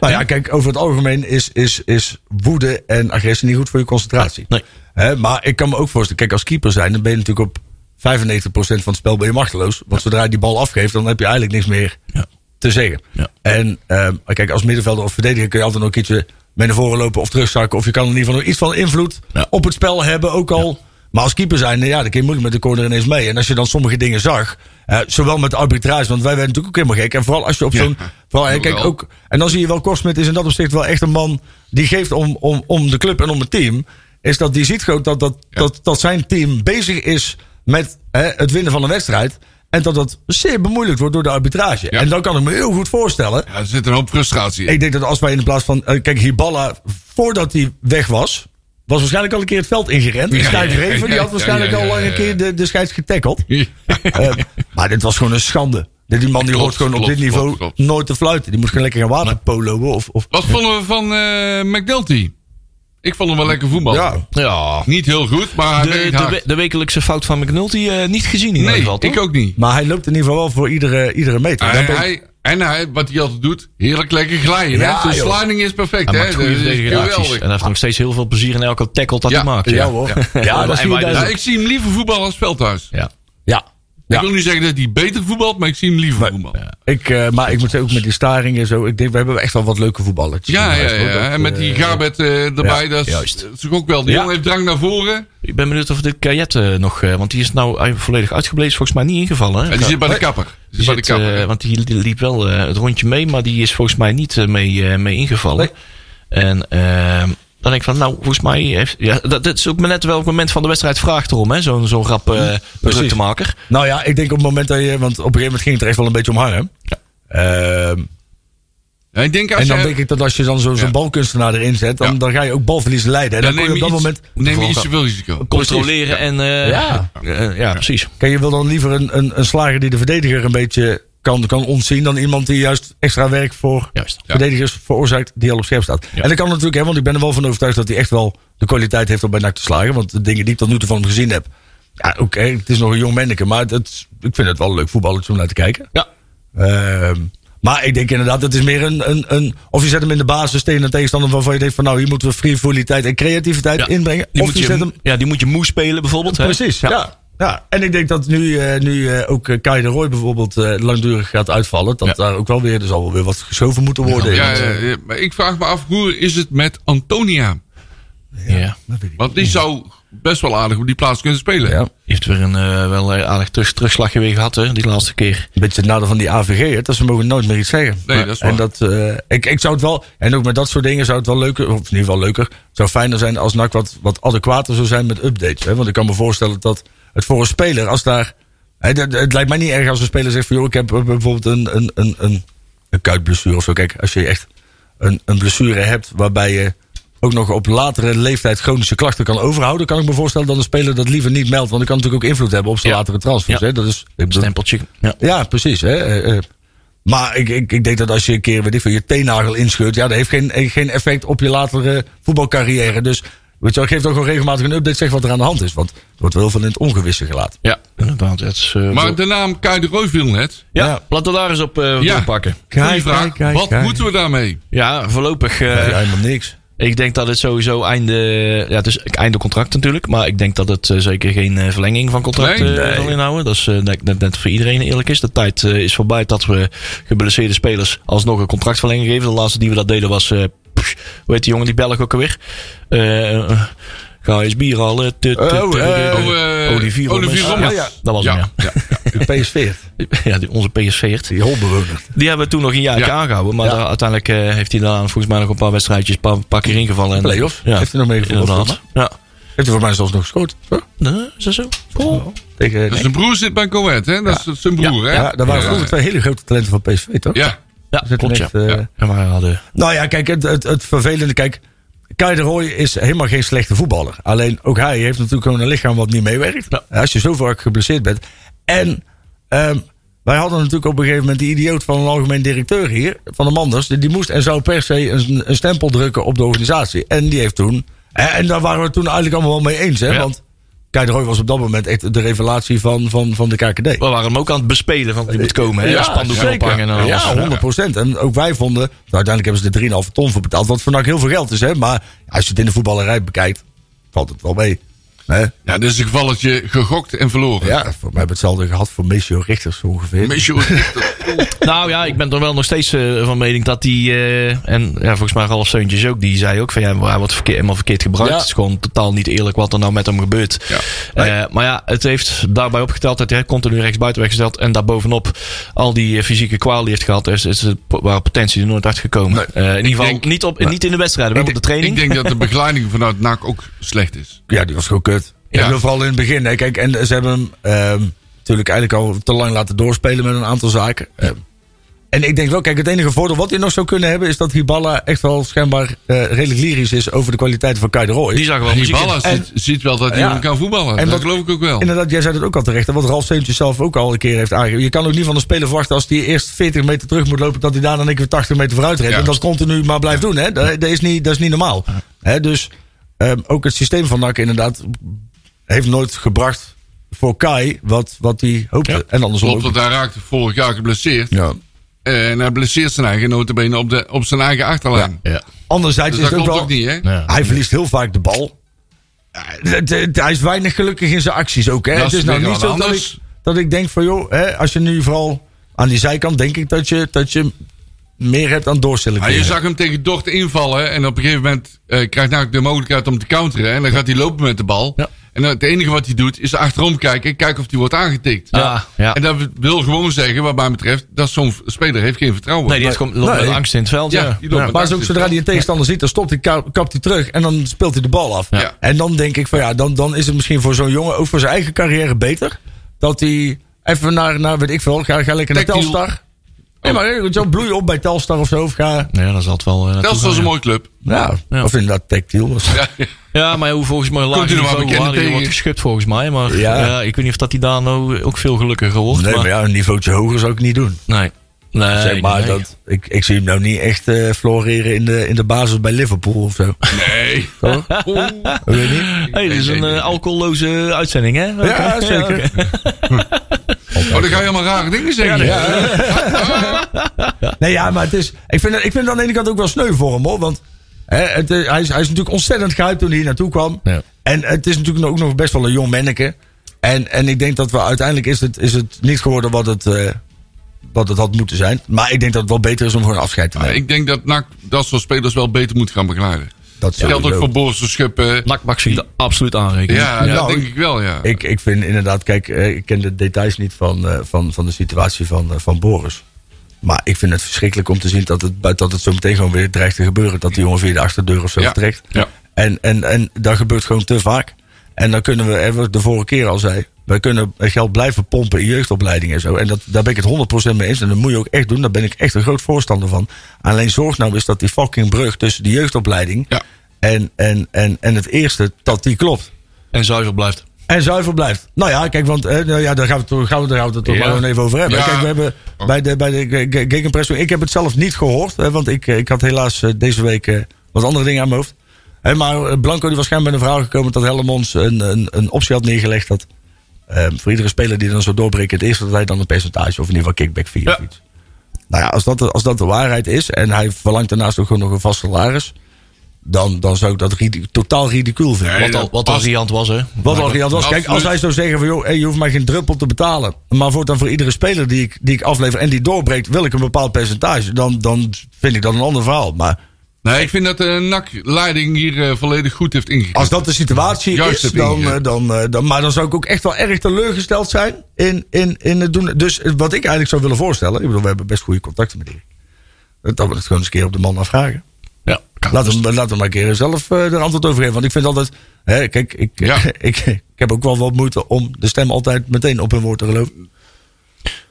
C: Nou ja, kijk, over het algemeen is, is, is woede en agressie niet goed voor je concentratie.
B: Nee.
C: Hè, maar ik kan me ook voorstellen, kijk, als keeper zijn, dan ben je natuurlijk op 95% van het spel ben je machteloos. Want zodra je die bal afgeeft, dan heb je eigenlijk niks meer te zeggen.
B: Ja.
C: En ehm, kijk, als middenvelder of verdediger kun je altijd nog ietsje mee naar voren lopen of terugzakken. Of je kan in ieder geval nog iets van invloed
B: Ja.
C: op het spel hebben, ook al. Maar als keeper zijn, nou ja, dan kun je moeilijk met de corner ineens mee. En als je dan sommige dingen zag, eh, zowel met de arbitrage, want wij werden natuurlijk ook helemaal gek. En vooral als je op
D: Ja.
C: zo'n... Vooral, hè,
D: Jawel.
C: kijk, ook en dan zie je wel, Korsmit is in dat opzicht wel echt een man die geeft om, om, om de club en om het team. Is dat die ziet gewoon dat, dat, dat, dat zijn team bezig is met hè, het winnen van een wedstrijd. En dat dat zeer bemoeilijkt wordt door de arbitrage.
D: Ja.
C: En dan kan ik me heel goed voorstellen.
D: Ja, er zit een hoop frustratie in.
C: Ik denk dat als wij in de plaats van. eh, Kijk, Hiballa, voordat hij weg was. Was waarschijnlijk al een keer het veld ingerend.
D: Ja,
C: Die Stijn
D: ja, ja,
C: Vreven, die
D: ja,
C: had waarschijnlijk
D: ja, ja,
C: al lang
D: ja, [LAUGHS]
C: een keer de, de scheids getackled.
D: Ja.
C: Eh, maar dit was gewoon een schande. Die man die
D: Klopt,
C: hoort gewoon op
D: klopt,
C: dit niveau
D: klopt, klopt.
C: nooit te fluiten. Die moet gewoon lekker gaan waterpoloen. Of, of,
D: Wat vonden we van eh McNulty? Ik vond hem wel lekker voetbal.
C: ja.
B: Ja.
D: Niet heel goed, maar hij
B: De,
D: werkt
B: de,
D: Ah, hard.
B: we- de wekelijkse fout van McNulty eh, niet gezien in ieder
D: Nee,
B: geval. toch?
D: ik ook niet.
C: Maar hij loopt in ieder geval wel voor iedere, iedere meter.
D: Hij,
C: Daar ben ik-
D: hij- en hij, wat hij altijd doet, heerlijk lekker glijden.
C: Ja,
D: hè? Zijn
C: joh.
D: sliding is perfect.
B: Hij
D: hè?
B: maakt goede
D: Dat is
B: verdedigende acties. En hij heeft nog steeds heel veel plezier in elke tackle dat
D: Ja,
B: hij maakt.
D: ja,
C: hoor.
B: Ja,
C: Ja, dat
B: en
C: zie je
B: wij
C: daar
B: dus-
D: Nou, ik zie hem liever voetballen als Veldhuis.
B: ja.
C: ja.
D: Ik wil niet zeggen dat hij beter voetbalt, maar ik zie hem liever voetballen.
C: Ik, eh, maar ik moet zeggen, ook met die staringen en zo. Ik denk, we hebben echt wel wat leuke voetballetjes.
D: Ja, ja,
C: Hoor,
D: ja.
C: dat,
D: En met die
C: eh,
D: Gabet eh, erbij,
C: ja,
D: dat, is,
B: juist.
D: dat is ook wel. Die
C: Ja.
D: jongen heeft drang naar voren.
B: Ik ben benieuwd of dit Kajet eh, nog... eh, want die is nou eigenlijk volledig uitgeblezen. Volgens mij niet ingevallen. Hè?
D: En die zit bij de kapper. Die
B: Die
D: zit bij de
B: zit, eh,
D: kapper.
B: want die, die liep wel eh, het rondje mee. Maar die is volgens mij niet eh, mee, eh, mee ingevallen. En... ehm, dan denk ik van, nou, volgens mij heeft... Ja, dat, dat is ook maar net welk moment van de wedstrijd vraagt erom, hè? Zo'n zo'n rap eh druktemaker.
C: Nou ja, ik denk op het moment dat je... Want op een gegeven moment ging het er echt wel een beetje om hangen. Ehm,
D: Ja, ik denk als
C: en
D: je,
C: dan denk ik dat als je dan zo- zo'n
D: Ja.
C: balkunstenaar erin zet... Dan,
D: Ja.
C: dan ga je ook balverlies leiden. En dan,
D: dan neem
C: kun
D: je
C: je op dat
D: iets,
C: moment...
D: neem je iets te veel risico.
B: Controleren en... eh,
C: Ja.
B: eh, ja, precies.
C: Kijk, je wil dan liever een, een, een slager die de verdediger een beetje kan, kan ontzien... dan iemand die juist extra werk voor
B: Juist.
D: Ja.
C: verdedigers veroorzaakt die al op scherp staat. En dat kan natuurlijk, hè, want ik ben er wel van overtuigd... dat hij echt wel de kwaliteit heeft om bij NAC te slagen. Want de dingen die ik tot nu toe van hem gezien heb... Ja, oké, het is nog een jong manneke, maar dat, ik vind het wel een leuk voetballetje om naar te kijken.
B: Ja.
C: Ehm, maar ik denk inderdaad, het is meer een, een, een... Of je zet hem in de basis tegen een tegenstander waarvan je denkt van... nou, hier moeten we frivoliteit en creativiteit
B: Ja.
C: inbrengen.
B: Die
C: of
B: moet
C: je zet hem...
B: ja, die moet je moe spelen bijvoorbeeld. hè?
C: Precies, ja. ja. en ik denk dat nu, eh, nu eh, ook eh, Kai de Roy bijvoorbeeld eh, langdurig gaat uitvallen. Dat
B: Ja.
C: daar ook wel weer, er zal wel weer wat geschoven moeten worden.
D: Ja,
C: Want,
D: ja,
C: eh,
D: ja, maar ik vraag me af, hoe is het met Antonia?
B: Ja.
C: dat weet ik.
D: Want die zou best wel aardig op die plaats kunnen spelen.
C: Hmm. Ja.
B: Die heeft weer een eh, wel eh, aardig terug, terugslagje weer gehad, hè, die laatste keer.
C: Een beetje het nadeel van die AVG, hè, dat ze mogen nooit meer iets zeggen.
D: Nee, dat is waar.
C: En dat, eh, ik, ik zou het wel, en ook met dat soort dingen zou het wel leuker, of in ieder geval leuker, het zou fijner zijn als NAC wat, wat adequater zou zijn met updates. Hè? Want ik kan me voorstellen dat het voor een speler, als daar, hè, dat- het, lijkt mij niet erg als een speler zegt van joh, ik heb eh, bijvoorbeeld een, een, een, een, een kuitblessure of zo. Kijk, als je echt een, een blessure hebt waarbij je ook nog op latere leeftijd chronische klachten kan overhouden, kan ik me voorstellen dat een speler dat liever niet meldt, want dat kan natuurlijk ook invloed hebben op zijn
B: Ja.
C: latere transfers.
B: Ja.
C: Hè? Dat is, ik bedoel,
B: Stempeltje. Ja.
C: ja, precies. Hè? Eh, eh. Maar ik, ik, ik denk dat als je een keer weet ik veel, je teennagel inscheurt, ja, dat heeft geen, eh, geen effect op je latere voetbalcarrière. Dus weet je wel, geef toch gewoon regelmatig een update, zeg wat er aan de hand is. Want er wordt wel heel veel in het ongewisse gelaten.
B: Ja, inderdaad. Het is, eh,
D: Maar
B: zo-
D: de naam Kai de Roy viel net.
B: ja,
C: Ja.
B: laten we daar eens op eh doorpakken.
D: Goeie
C: Kijk,
D: vraag.
C: kijk, kijk,
D: Wat
C: kijk.
D: moeten we daarmee?
B: Ja, voorlopig. eh,
C: Ja, helemaal niks.
B: Ik denk dat het sowieso einde. Ja, het is einde contract natuurlijk. Maar ik denk dat het eh, zeker geen eh, verlenging van contract
D: Nee,
B: eh,
D: nee.
B: zal inhouden. Dat is eh, denk ik net, net voor iedereen eerlijk is. De tijd eh, is voorbij dat we geblesseerde spelers alsnog een contractverlenging geven. De laatste die we dat deden was. eh pff, hoe heet die jongen, die Belg ook alweer? Eh, eh, Ga eens bier halen. Tut, tut,
C: Oh,
B: tut,
C: eh,
B: tut.
D: oh, eh,
B: Olivier
D: Olivier
B: Rommers.
C: Ah,
D: Rommers.
B: Ja, dat was hem, ja.
D: ja.
C: PSV,
B: Ja, [LAUGHS] die- onze PSV'ert.
C: die holbewoner.
B: Die hebben we toen nog een jaartje
D: Ja.
B: aangehouden. Maar daar- uiteindelijk eh, heeft hij daar volgens mij nog een paar wedstrijdjes, een paar, een paar keer ingevallen. En,
C: Play-off.
B: Ja,
C: Heeft hij nog meegevoetbald,
B: inderdaad. Ja.
C: Heeft hij voor mij zelfs nog gescoord? Zo?
B: Nee, is dat zo? Oh.
C: Tegen,
D: Dus
C: nee.
D: zijn broer zit bij Coët, hè? Dat is zijn broer, hè?
C: Ja, dat waren vroeger twee hele grote talenten van PSV, toch?
D: Ja.
B: Ja,
C: Zitten
B: klopt ja.
C: echt, eh,
B: Ja. En wij hadden...
C: Nou ja, kijk, het, het, het vervelende, kijk, Kai de Roy is helemaal geen slechte voetballer. Alleen ook hij heeft natuurlijk gewoon een lichaam wat niet meewerkt.
B: Ja.
C: Als je zo vaak geblesseerd bent. En ehm, wij hadden natuurlijk op een gegeven moment die idioot van een algemeen directeur hier, van de Manders, die, die moest en zou per se een, een stempel drukken op de organisatie. En die heeft toen, en en daar waren we het toen eigenlijk allemaal wel mee eens, hè?
B: Ja.
C: Want Kai de Roy was op dat moment echt de revelatie van, van, van de KKD.
B: We waren hem ook aan het bespelen, want die moet komen. Hè?
C: Eh, Ja,
B: Spandoek
C: zeker.
B: ophangen en alles.
C: Ja, 100 En ook wij vonden, nou, uiteindelijk hebben ze er 3,5 ton voor betaald. Wat voor NAC heel veel geld is, hè. Maar als je het in de voetballerij bekijkt, valt het wel mee. Hè?
D: Ja, dit is een gevalletje gegokt en verloren. [LAUGHS]
C: Ja, voor mij hebben we hetzelfde gehad voor Missio Richters ongeveer.
D: Messi wordt echt- Oeh.
B: Nou ja, ik ben er wel nog steeds eh, van mening dat die... eh, en ja, volgens mij Ralf Seuntjes ook, die zei ook van... Ja, hij wordt verkeer, helemaal verkeerd gebruikt.
C: Ja.
B: Het is gewoon totaal niet eerlijk wat er nou met hem gebeurt.
D: Ja.
B: Eh, maar ja, het heeft daarbij opgeteld dat hij continu rechts buiten weggesteld... en daarbovenop al die eh, fysieke kwaal die heeft gehad... Dus, is er waren potentie er nooit uitgekomen. Eh, in ieder geval
D: denk-
B: niet, op, niet in de wedstrijden, wel op de training.
D: Ik denk dat de begeleiding vanuit NAC ook slecht is.
C: Ja, die was gewoon kut.
D: Ja.
C: Ik bedoel, vooral in het begin. Hè. Kijk, en ze hebben hem ehm, natuurlijk eigenlijk al te lang laten doorspelen met een aantal zaken. Ehm, En ik denk wel, kijk, het enige voordeel wat hij nog zou kunnen hebben... is dat Hiballa echt wel schijnbaar eh, redelijk lyrisch is... over de kwaliteit van Kai de Roy.
B: Die zag wel
D: Die
B: muziek in.
D: ballen ziet, ziet wel dat hij
C: Ja.
D: kan voetballen.
C: En
D: dat
C: wat-
D: geloof ik ook wel.
C: Inderdaad, jij zei dat ook al terecht. En wat Ralf Seentjes zelf ook al een keer heeft aangegeven. Je kan ook niet van een speler verwachten als die eerst 40 meter terug moet lopen... dat hij daarna een keer weer 80 meter vooruit rent.
D: Ja.
C: En dat continu maar blijft doen. Hè? Dat, dat is niet, dat is niet normaal. Hè? Dus ehm, ook het systeem van NAC inderdaad heeft nooit gebracht voor Kai wat, wat hij hoopte. En andersom
D: Klopt,
C: ook.
D: want hij raakte vorig jaar geblesseerd.
C: Ja.
D: Eh, En hij blesseert zijn eigen notenbenen op, de, op zijn eigen achterlijn.
B: Ja.
C: Anderzijds
D: Dus
C: is
D: dat
C: het ook
D: klopt
C: wel...
D: ook niet, hè?
B: Ja.
C: Hij verliest heel vaak de bal. Ja, het- het- Hij is weinig gelukkig in zijn acties ook. Hè?
D: Dat
C: Het
D: is
C: is nou
D: weer
C: niet
D: wat
C: zo dat
D: anders.
C: ik, dat ik denk van joh, hè, als je nu vooral aan die zijkant denk ik dat je, dat je meer hebt aan
D: Maar je
C: doorselecteren.
D: zag hem tegen Dordt invallen en op een gegeven moment eh, krijgt hij de mogelijkheid om te counteren. En dan gaat hij lopen met de bal.
B: Ja.
D: En dan- het enige wat hij doet is achterom kijken en kijken of hij wordt aangetikt.
B: Ja, ja.
D: En dat wil gewoon zeggen, wat mij betreft, dat zo'n v- speler heeft geen vertrouwen.
B: Nee, die heeft gewoon loopt
C: Nee.
B: met angst in het veld.
D: Ja,
B: Ja,
D: die loopt met-
C: maar ook zodra hij een tegenstander ziet, dan stopt hij, ka- kapt hij terug en dan speelt hij de bal af.
D: Ja.
C: En dan denk ik van ja, dan, dan is het misschien voor zo'n jongen, ook voor zijn eigen carrière beter, dat hij even naar, naar weet ik veel, ga, ga lekker naar
D: Tactiel.
C: Telstar. Nee, maar hè, zo bloei op bij Telstar of zo. Of ga,
B: Ja, dat is altijd wel. eh, naartoe
D: Telstra
B: gaan,
D: is een
B: ja.
D: mooie club.
C: ja,
B: Ja.
C: Nou, Of inderdaad tactiel.
D: Ja, [LAUGHS]
B: Ja, maar hoe volgens mij lager
D: Komt hij nog wel
B: niveau
D: bekend
B: waar hij
D: tegen?
B: wordt geschud volgens mij. Maar
C: Ja.
B: ja. ik weet niet of dat hij daar nou ook veel gelukkiger wordt.
C: Nee, maar ja, een niveautje hoger zou ik niet doen.
B: nee. Nee,
C: Zeg maar,
B: nee.
C: dat, ik, ik zie hem nou niet echt eh, floreren in de, in de basis bij Liverpool of
B: [LAUGHS]
C: zo.
D: Nee.
C: Toch?
D: Oeh.
C: Weet je niet?
B: Hey, dit is een eh, alcoholloze uitzending, hè? Oké.
C: Ja, zeker.
B: oké.
D: Oh, dan ga je allemaal rare dingen zeggen.
C: Nee, ja, maar het is. Ik vind, het- ik vind het aan de ene kant ook wel sneu voor hem hoor. Want hè, het, eh, hij, is, hij is natuurlijk ontzettend gehyped toen hij hier naartoe kwam.
B: Ja.
C: En het is natuurlijk ook nog best wel een jong manneke. En, en ik denk dat we uiteindelijk is het, is het niet geworden wat het, eh, wat het had moeten zijn. Maar ik denk dat het wel beter is om gewoon afscheid te
D: Maar
C: nemen.
D: ik denk dat NAC dat soort spelers wel beter moet gaan begeleiden.
C: dat
D: Dat geldt ook
C: sowieso.
D: voor Boris de Schuppen.
B: Nak mag zich er absoluut aanrekenen.
D: Ja, dat
C: Nou,
D: denk ik wel, ja.
C: Ik, ik vind inderdaad, kijk, eh, ik ken de details niet van, eh, van, van de situatie van, eh, van Boris. Maar ik vind het verschrikkelijk om te zien dat het, dat het zo meteen gewoon weer dreigt te gebeuren. Dat die jongen via de achterdeur of zo
D: Ja,
C: vertrekt.
D: ja.
C: En, en, en dat gebeurt gewoon te vaak. En dan kunnen we, hè, wat ik de vorige keer al zei, we kunnen geld blijven pompen in jeugdopleidingen en zo. En dat, daar ben ik het 100% mee eens. En dat moet je ook echt doen. Daar ben ik echt een groot voorstander van. Alleen zorg nou eens dat die fucking brug tussen de jeugdopleiding
D: Ja.
C: en, en, en, en het eerste, dat die klopt.
B: En zuiver blijft.
C: En zuiver blijft. Nou ja, kijk, want eh, nou ja, daar gaan we het toch- gaan we, daar gaan we het toch
B: Ja.
C: maar gewoon even over hebben.
D: Ja.
C: Kijk, we hebben bij de, bij de Ge- Ge- Gegenpressing- Ik heb het zelf niet gehoord, hè, want ik, eh, ik had helaas eh, deze week eh, wat andere dingen aan mijn hoofd. Hè, maar eh, Blanco die was schijnbaar met een verhaal gekomen dat Hellemons een, een, een optie had neergelegd. Dat eh, voor iedere speler die dan zo doorbreekt, het eerste dat hij dan een percentage of in ieder geval kickback 4 of iets. Nou ja, als dat, de- als dat de waarheid is en hij verlangt daarnaast ook gewoon nog een vast salaris. Dan, dan zou ik dat ridi- totaal ridicuul vinden.
D: Nee,
B: Wat al,
D: dat
B: wat al
D: past.
B: riant was, hè?
C: Wat al gejat was.
D: Absoluut.
C: Kijk, als hij zou zeggen van joh, hey, je hoeft mij geen druppel te betalen. Maar voortaan voor iedere speler die ik, die ik aflever en die doorbreekt, wil ik een bepaald percentage. Dan, dan vind ik dat een ander verhaal. Maar
D: Nee, Nou, ik vind dat de NAC-leiding hier eh, volledig goed heeft ingekeken.
C: als dat de situatie
D: Juist
C: is,
D: heb je
C: dan,
D: hier.
C: eh, dan, eh, dan, maar dan zou ik ook echt wel erg teleurgesteld zijn in, in, in het doen. Dus eh, wat ik eigenlijk zou willen voorstellen, ik bedoel, we hebben best goede contacten met Erik. Dat we het gewoon eens een keer op de man afvragen.
B: Ja, kan.
D: dus-
C: Laat hem, laat hem maar een keer zelf eh, er antwoord over geven. Want ik vind altijd. Hè, kijk, ik,
D: Ja.
C: ik, [LAUGHS] ik, heb ook wel wat moeite om de stem altijd meteen op hun woord te geloven.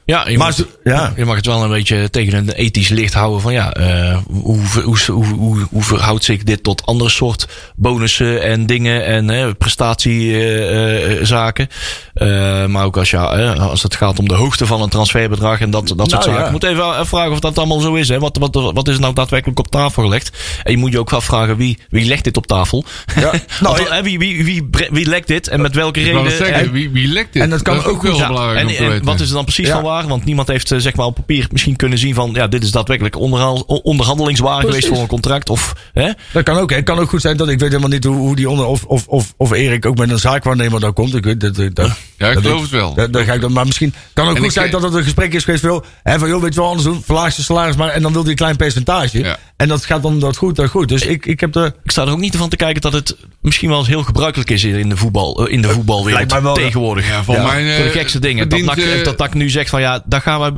B: Ja, je,
C: Maar
B: mag,
C: ze- ja.
B: je mag het wel een beetje tegen een ethisch licht houden van ja, eh, hoe, ver- hoe, hoe, hoe, hoe verhoudt zich dit tot andere soort bonussen en dingen en hè, eh, prestatiezaken. Eh, maar ook als, ja, hè, als het gaat om de hoogte van een transferbedrag en dat, dat soort
C: Nou,
B: zaken.
C: ja.
B: Je moet even afvragen of dat allemaal zo is. Hè? Wat, wat, wat is er nou daadwerkelijk op tafel gelegd? En je moet je ook afvragen wie, wie legt dit op tafel?
C: Ja.
B: Want, [LAUGHS]
C: Nou, ja.
B: hè, wie, wie, wie, bre- wie lekt dit en met welke
D: ik wou
B: reden?
D: net zeggen,
B: En-
D: wie, wie lekt dit?
C: en dat kan
D: is
C: ook goed
D: wel
C: zijn.
D: belangrijk
B: en,
D: om te
B: en
D: weten.
B: wat is er dan precies
C: Ja.
B: van waar? Want niemand heeft eh, zeg maar, op papier misschien kunnen zien van... ja, dit is daadwerkelijk onderhaal- o- onderhandelingswaar geweest voor een contract. Of, hè?
C: Dat kan ook. hè. Het kan ook goed zijn dat ik weet helemaal niet hoe, hoe die onder. Of, of, of, of Erik ook met een zaakwaarnemer daar komt. Ik weet dat. eh, dat dat-
D: Ja, ik
C: dat
D: geloof het wel.
C: Dat, dat ga ik dan, maar misschien kan
D: En
C: ook goed
D: ik- eh,
C: zijn dat het een gesprek is geweest. Van, joh, hè, van, joh weet je wel anders doen? Verlaag je salaris maar. En dan wil hij een klein percentage.
D: Ja.
C: En dat gaat dan dat goed, dat goed. Dus ik, ik heb de.
B: Ik sta er ook niet van te kijken dat het misschien wel eens heel gebruikelijk is in de, voetbal, eh, in de voetbalwereld
C: lijkt mij wel, ja.
B: tegenwoordig.
D: Ja, voor mij, eh,
B: voor de gekste dingen. Dat
D: verdient,
B: NAC,
D: eh,
B: dat NAC nu zegt van ja, ja, daar gaan wij,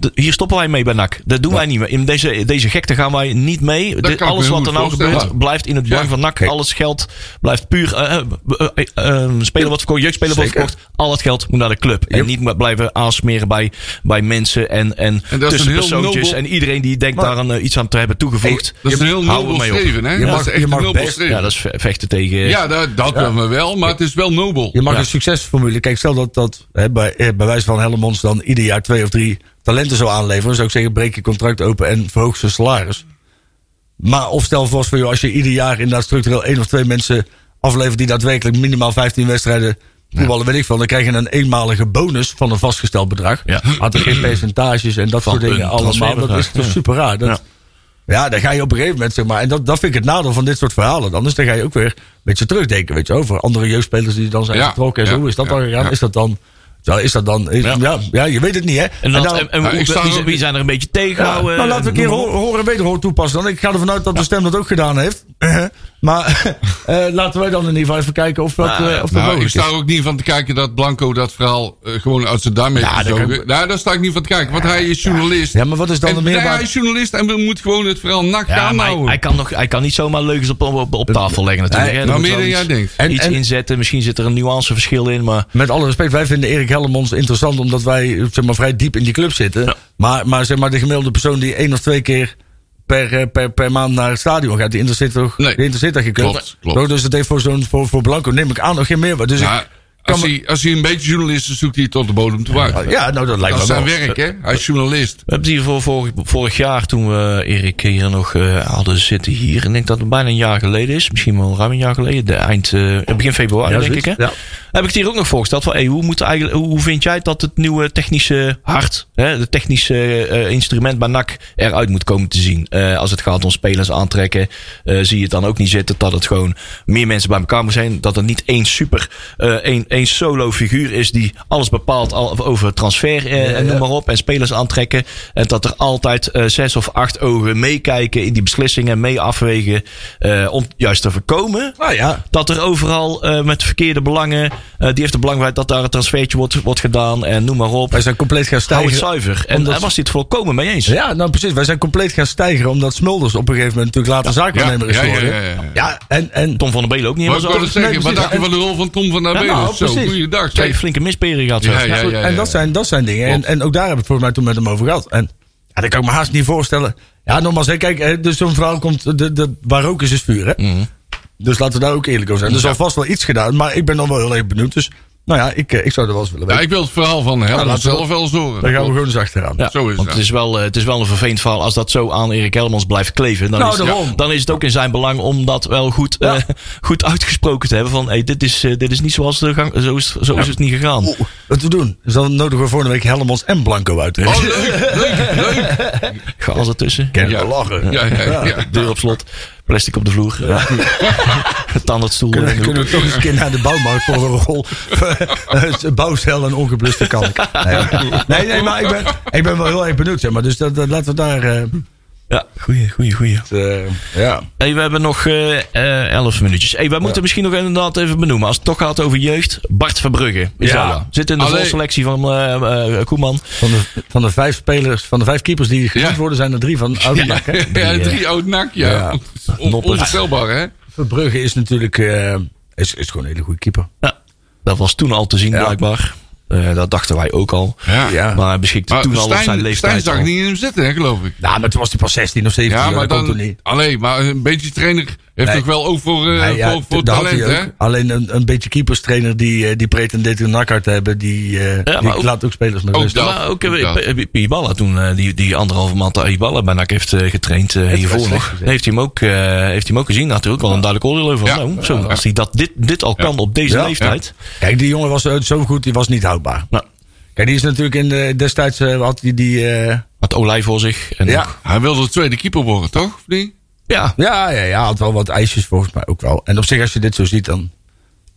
B: d- hier stoppen wij mee bij NAC. Dat doen wij niet meer. In deze, deze gekte gaan wij niet mee.
D: kan
B: De-
D: ik me
B: alles
D: heel
B: wat er
D: goed
B: nou
D: voorstellen.
B: gebeurt, blijft in het belang
D: Ja.
B: van NAC. Alles geld blijft puur eh, eh, eh, eh, eh, speler wat verkocht, jeugdspeler wat
C: Zeker.
B: verkocht. Al het geld moet naar de club. En niet maar blijven aansmeren bij, bij mensen en, en,
D: En dat is een heel
B: tussenpersoontjes.
D: nobel-
B: En iedereen die denkt daar aan, eh, iets aan te hebben toegevoegd.
D: Dat is een heel
B: Hou er
D: nobel
B: mee op.
D: streven, hè?
C: Je mag-
D: dat is echt
C: je mag
D: een nobel
C: best-
D: streven.
B: Ja, dat is ve- vechten tegen...
D: Ja, dat, dat wel wel, maar het is wel nobel.
C: Je mag
B: Ja.
C: een succesformule. Kijk, stel dat, dat hè, bij, eh, bij wijze van Hellemons dan ieder jaar twee of drie talenten zou aanleveren. Dan zou ik zeggen, breek je contract open en verhoog zijn salaris. Maar of stel vast voor jou, als je ieder jaar inderdaad structureel één of twee mensen aflevert die daadwerkelijk minimaal 15 wedstrijden voetballen, weet ik veel. Dan krijg je een eenmalige bonus van een vastgesteld bedrag.
B: Ja.
C: Had er geen percentages en dat
B: Van
C: soort dingen
B: een
C: allemaal. Dat
B: transferbedrag,
C: is toch
B: ja.
C: super raar. Dat,
B: Ja.
C: ja, dan ga je op een gegeven moment, zeg maar. En dat, dat vind ik het nadeel van dit soort verhalen. Anders dan ga je ook weer een beetje terugdenken, weet je, over andere jeugdspelers die dan zijn
D: Ja,
C: vertrokken. En zo,
D: ja,
C: hoe is dat
D: ja,
C: dan gegaan?
D: ja.
C: Is dat dan. Ja, is dat dan. is-
B: Ja.
C: ja. Ja, je weet het niet, hè?
B: En, dan,
C: daarom-
B: en, en
D: Ja,
B: hoe-
D: ik sta-
B: wie, zijn- wie zijn er een beetje
C: ja,
B: tegenhouden?
C: nou, laten we een keer
B: Noem maar
C: hoor-
B: op.
C: horen en wederhoor toepassen dan. Ik ga ervan uit dat de stem dat ook gedaan heeft. [LAUGHS] maar eh, laten wij dan in ieder geval even kijken of dat,
B: Nou,
C: eh, of dat
D: Nou, ik
C: mogelijk
D: sta
C: is.
D: er ook niet van te kijken dat Blanco dat verhaal eh, gewoon uit zijn duim heeft
C: Ja, dat
D: gezogen.
C: kan-
D: Nou, daar sta ik niet van te kijken, want hij is journalist.
C: Ja, maar wat is dan
D: En-
C: de
D: nee,
C: meerwaarde?
D: hij is journalist en we moeten gewoon het verhaal nacht
B: Ja, maar hij,
D: aanhouden.
B: hij kan nog, hij kan niet zomaar leugens op, op, op tafel leggen natuurlijk.
C: Nee,
B: hè.
D: nou. nou,
B: Er moet
D: meer
B: wel
D: dan jij
B: iets-
D: denkt.
C: En-
B: iets
C: en-
B: inzetten, misschien zit er een nuanceverschil in, maar...
C: Met alle respect, wij vinden Erik Hellemons interessant omdat wij zeg maar, vrij diep in die club zitten. Maar, maar, zeg maar de gemiddelde persoon die één of twee keer per, eh, per, per maand naar het stadion gaat, die interesseert toch
D: Nee.
C: die interesseert toch geen club?
D: Klopt, klopt.
C: Zo, Dus dat heeft voor, zo'n, voor, voor Blanco, neem ik aan, nog geen meerwaarde. Dus
D: Ja,
C: ik kan
D: als,
C: me-
D: hij, als hij een beetje journalist is, zoekt hij tot de bodem toe uit.
C: ja, nou dat lijkt
D: dat
C: me
D: is
C: wel.
D: zijn werk, hè? Hij is journalist.
B: We hebben het hier voor vorig, vorig jaar, toen we Erik hier nog eh, hadden zitten hier. En ik denk dat het bijna een jaar geleden is. Misschien wel ruim een jaar geleden. De eind, eh, begin februari,
C: Ja,
B: denk ik.
C: zoiets,
B: Hè?
C: ja.
B: Heb ik het hier ook nog voorgesteld. Van, hey, hoe, moet eigenlijk, hoe hoe vind jij dat het nieuwe technische hart, hè, de technische eh, instrument bij NAC eruit moet komen te zien? Eh, als het gaat om spelers aantrekken, eh, zie je het dan ook niet zitten dat het gewoon meer mensen bij elkaar moeten zijn. Dat er niet één super, eh, één, één solo figuur is die alles bepaalt al- over transfer eh, en noem maar op. En spelers aantrekken. En dat er altijd eh, zes of acht ogen meekijken in die beslissingen, mee afwegen. eh, om juist te voorkomen
C: Nou ja,
B: dat er overal eh, met verkeerde belangen. eh, die heeft de belangrijkheid dat daar een transfertje wordt, wordt gedaan en noem maar op.
C: wij zijn compleet gaan
B: Hou het
C: stijgen.
B: zuiver. En
C: omdat-
B: daar was hij het volkomen mee eens.
C: Ja, nou precies. Wij zijn compleet gaan stijgen omdat Smulders op een gegeven moment natuurlijk later zaakwaarnemer is
D: ja, ja, ja,
C: geworden.
D: ja, ja.
C: en, en
B: Tom van der Belen ook niet
D: Maar ik
B: helemaal
D: wil
B: zo.
D: het zeggen,
C: precies,
D: wat dacht
C: ja,
D: je van de rol van Tom van der
C: Ja,
D: Belen?
C: nou,
D: Zo,
C: precies.
D: goeiedag.
B: Twee
D: zeg.
B: flinke misperen gehad. zo.
D: Ja, ja,
B: Ja,
D: ja,
B: goed.
D: ja.
C: en dat zijn, dat zijn dingen. En,
D: Klopt.
C: en ook daar hebben we het volgens mij toen met hem over gehad. En ja, dat kan ik me haast niet voorstellen. Ja, nogmaals, hè, kijk, hè, dus zo'n verhaal komt. De, de, waar rook is, is vuur. Hè?
D: Mhm.
C: Dus laten we daar ook eerlijk over zijn. Dus Er is alvast wel iets gedaan, maar ik ben dan wel heel erg benieuwd. Dus nou ja, ik, eh, ik zou er wel eens willen
D: Ja,
C: weten.
D: ik wil het verhaal van Helmond
C: laten we-
D: zelf wel eens horen.
C: Daar gaan we gewoon eens achteraan.
B: Ja,
D: Zo is
B: want
D: het.
B: het is, wel, eh, het is wel een vervelend verhaal als dat zo aan Erik Helmans blijft kleven. Dan,
C: Nou,
B: is, het-
C: daarom.
B: dan is het ook in zijn belang om dat wel goed, eh, goed uitgesproken te hebben. Van hey, dit, is, eh, dit is niet zoals de gang, zo is, zo is het niet gegaan.
C: Oeh, wat we doen? Dus dan nodigen we volgende week Helmons en Blanco uit.
D: Oh, leuk, leuk, leuk.
B: Ga alles ertussen.
C: Ken je
D: ja.
C: wel lachen.
D: Ja, ja, ja.
B: Deur op slot, plastic op de vloer, ja. [LAUGHS] tandartsstoel. in de
C: Kunnen,
B: hoek.
C: kunnen we toch eens een keer naar de bouwmarkt voor een
D: [LAUGHS]
C: rol eh, bouwcel en ongebluste kalk. Nee, nee, nee, maar ik ben, ik ben wel heel erg benieuwd. Zeg maar. Dus dat, dat, laten we daar... eh,
B: Ja, goeie, goeie, goeie.
C: eh, ja.
B: Hey, we hebben nog eh, eh, 11 minuutjes. Hey, wij moeten misschien nog inderdaad even benoemen. Als het toch gaat over jeugd, Bart Verbrugge. Is
D: Ja.
B: dat wel. Zit in de
D: Allee.
B: volselectie van eh, eh, Koeman.
C: Van de, van de vijf spelers, van de vijf keepers die gekiend
D: Ja.
C: worden, zijn er drie van oud ja.
D: Ja,
C: eh.
D: drie oud nak, ja.
C: Ja.
D: On- Onvoorstelbaar, hè?
C: Verbrugge is natuurlijk eh, is, is gewoon een hele goede keeper.
B: Ja, dat was toen al te zien blijkbaar. Eh, dat dachten wij ook al.
C: Ja.
B: Maar hij beschikte
D: Maar
B: toen al op
D: Stijn-
B: zijn
D: Stijn
B: leeftijd.
D: zag
B: al.
D: niet in hem zitten, hè, geloof ik.
C: Nou, maar toen was hij pas 16 of 17,
D: Ja,
C: dat
D: maar
C: komt toen
D: dan...
C: niet.
D: Allee, maar een beetje trainer heeft
C: Nee.
D: toch wel ook voor, eh,
C: Nee, ja,
D: voor, voor
C: daar had hij
D: talent, hè?
C: ook. Alleen een, een beetje keeperstrainer die, eh, die pretendeert een nakhard te hebben, die, eh, die
B: maar ook-
C: laat ook spelers met
D: ook
C: rust.
D: dat.
B: Maar ook eh,
D: Ja.
B: P- P- Ibala toen, eh, die, die anderhalve maand dat Ibala bij NAC heeft eh, getraind eh, hiervoor
C: slecht
B: nog.
C: gezien.
B: Heeft hij hem ook, eh, heeft hij hem ook gezien. Had hij ook wel een duidelijk oordeel over.
D: Ja.
B: Nou, zo,
D: Ja.
B: als hij dat, dit, dit al kan op deze
C: Ja.
B: leeftijd.
C: Kijk, die jongen was eh, zo goed, die was niet houdbaar.
B: Nou,
C: Kijk, die is natuurlijk in de, destijds, eh, had hij die... eh,
B: had Olij voor zich. En
C: ja.
B: ook-
D: Hij wilde de tweede keeper worden, toch? Of niet?
B: ja,
C: Ja, ja, ja, had wel wat ijsjes volgens mij ook wel. En op zich, als je dit zo ziet, dan...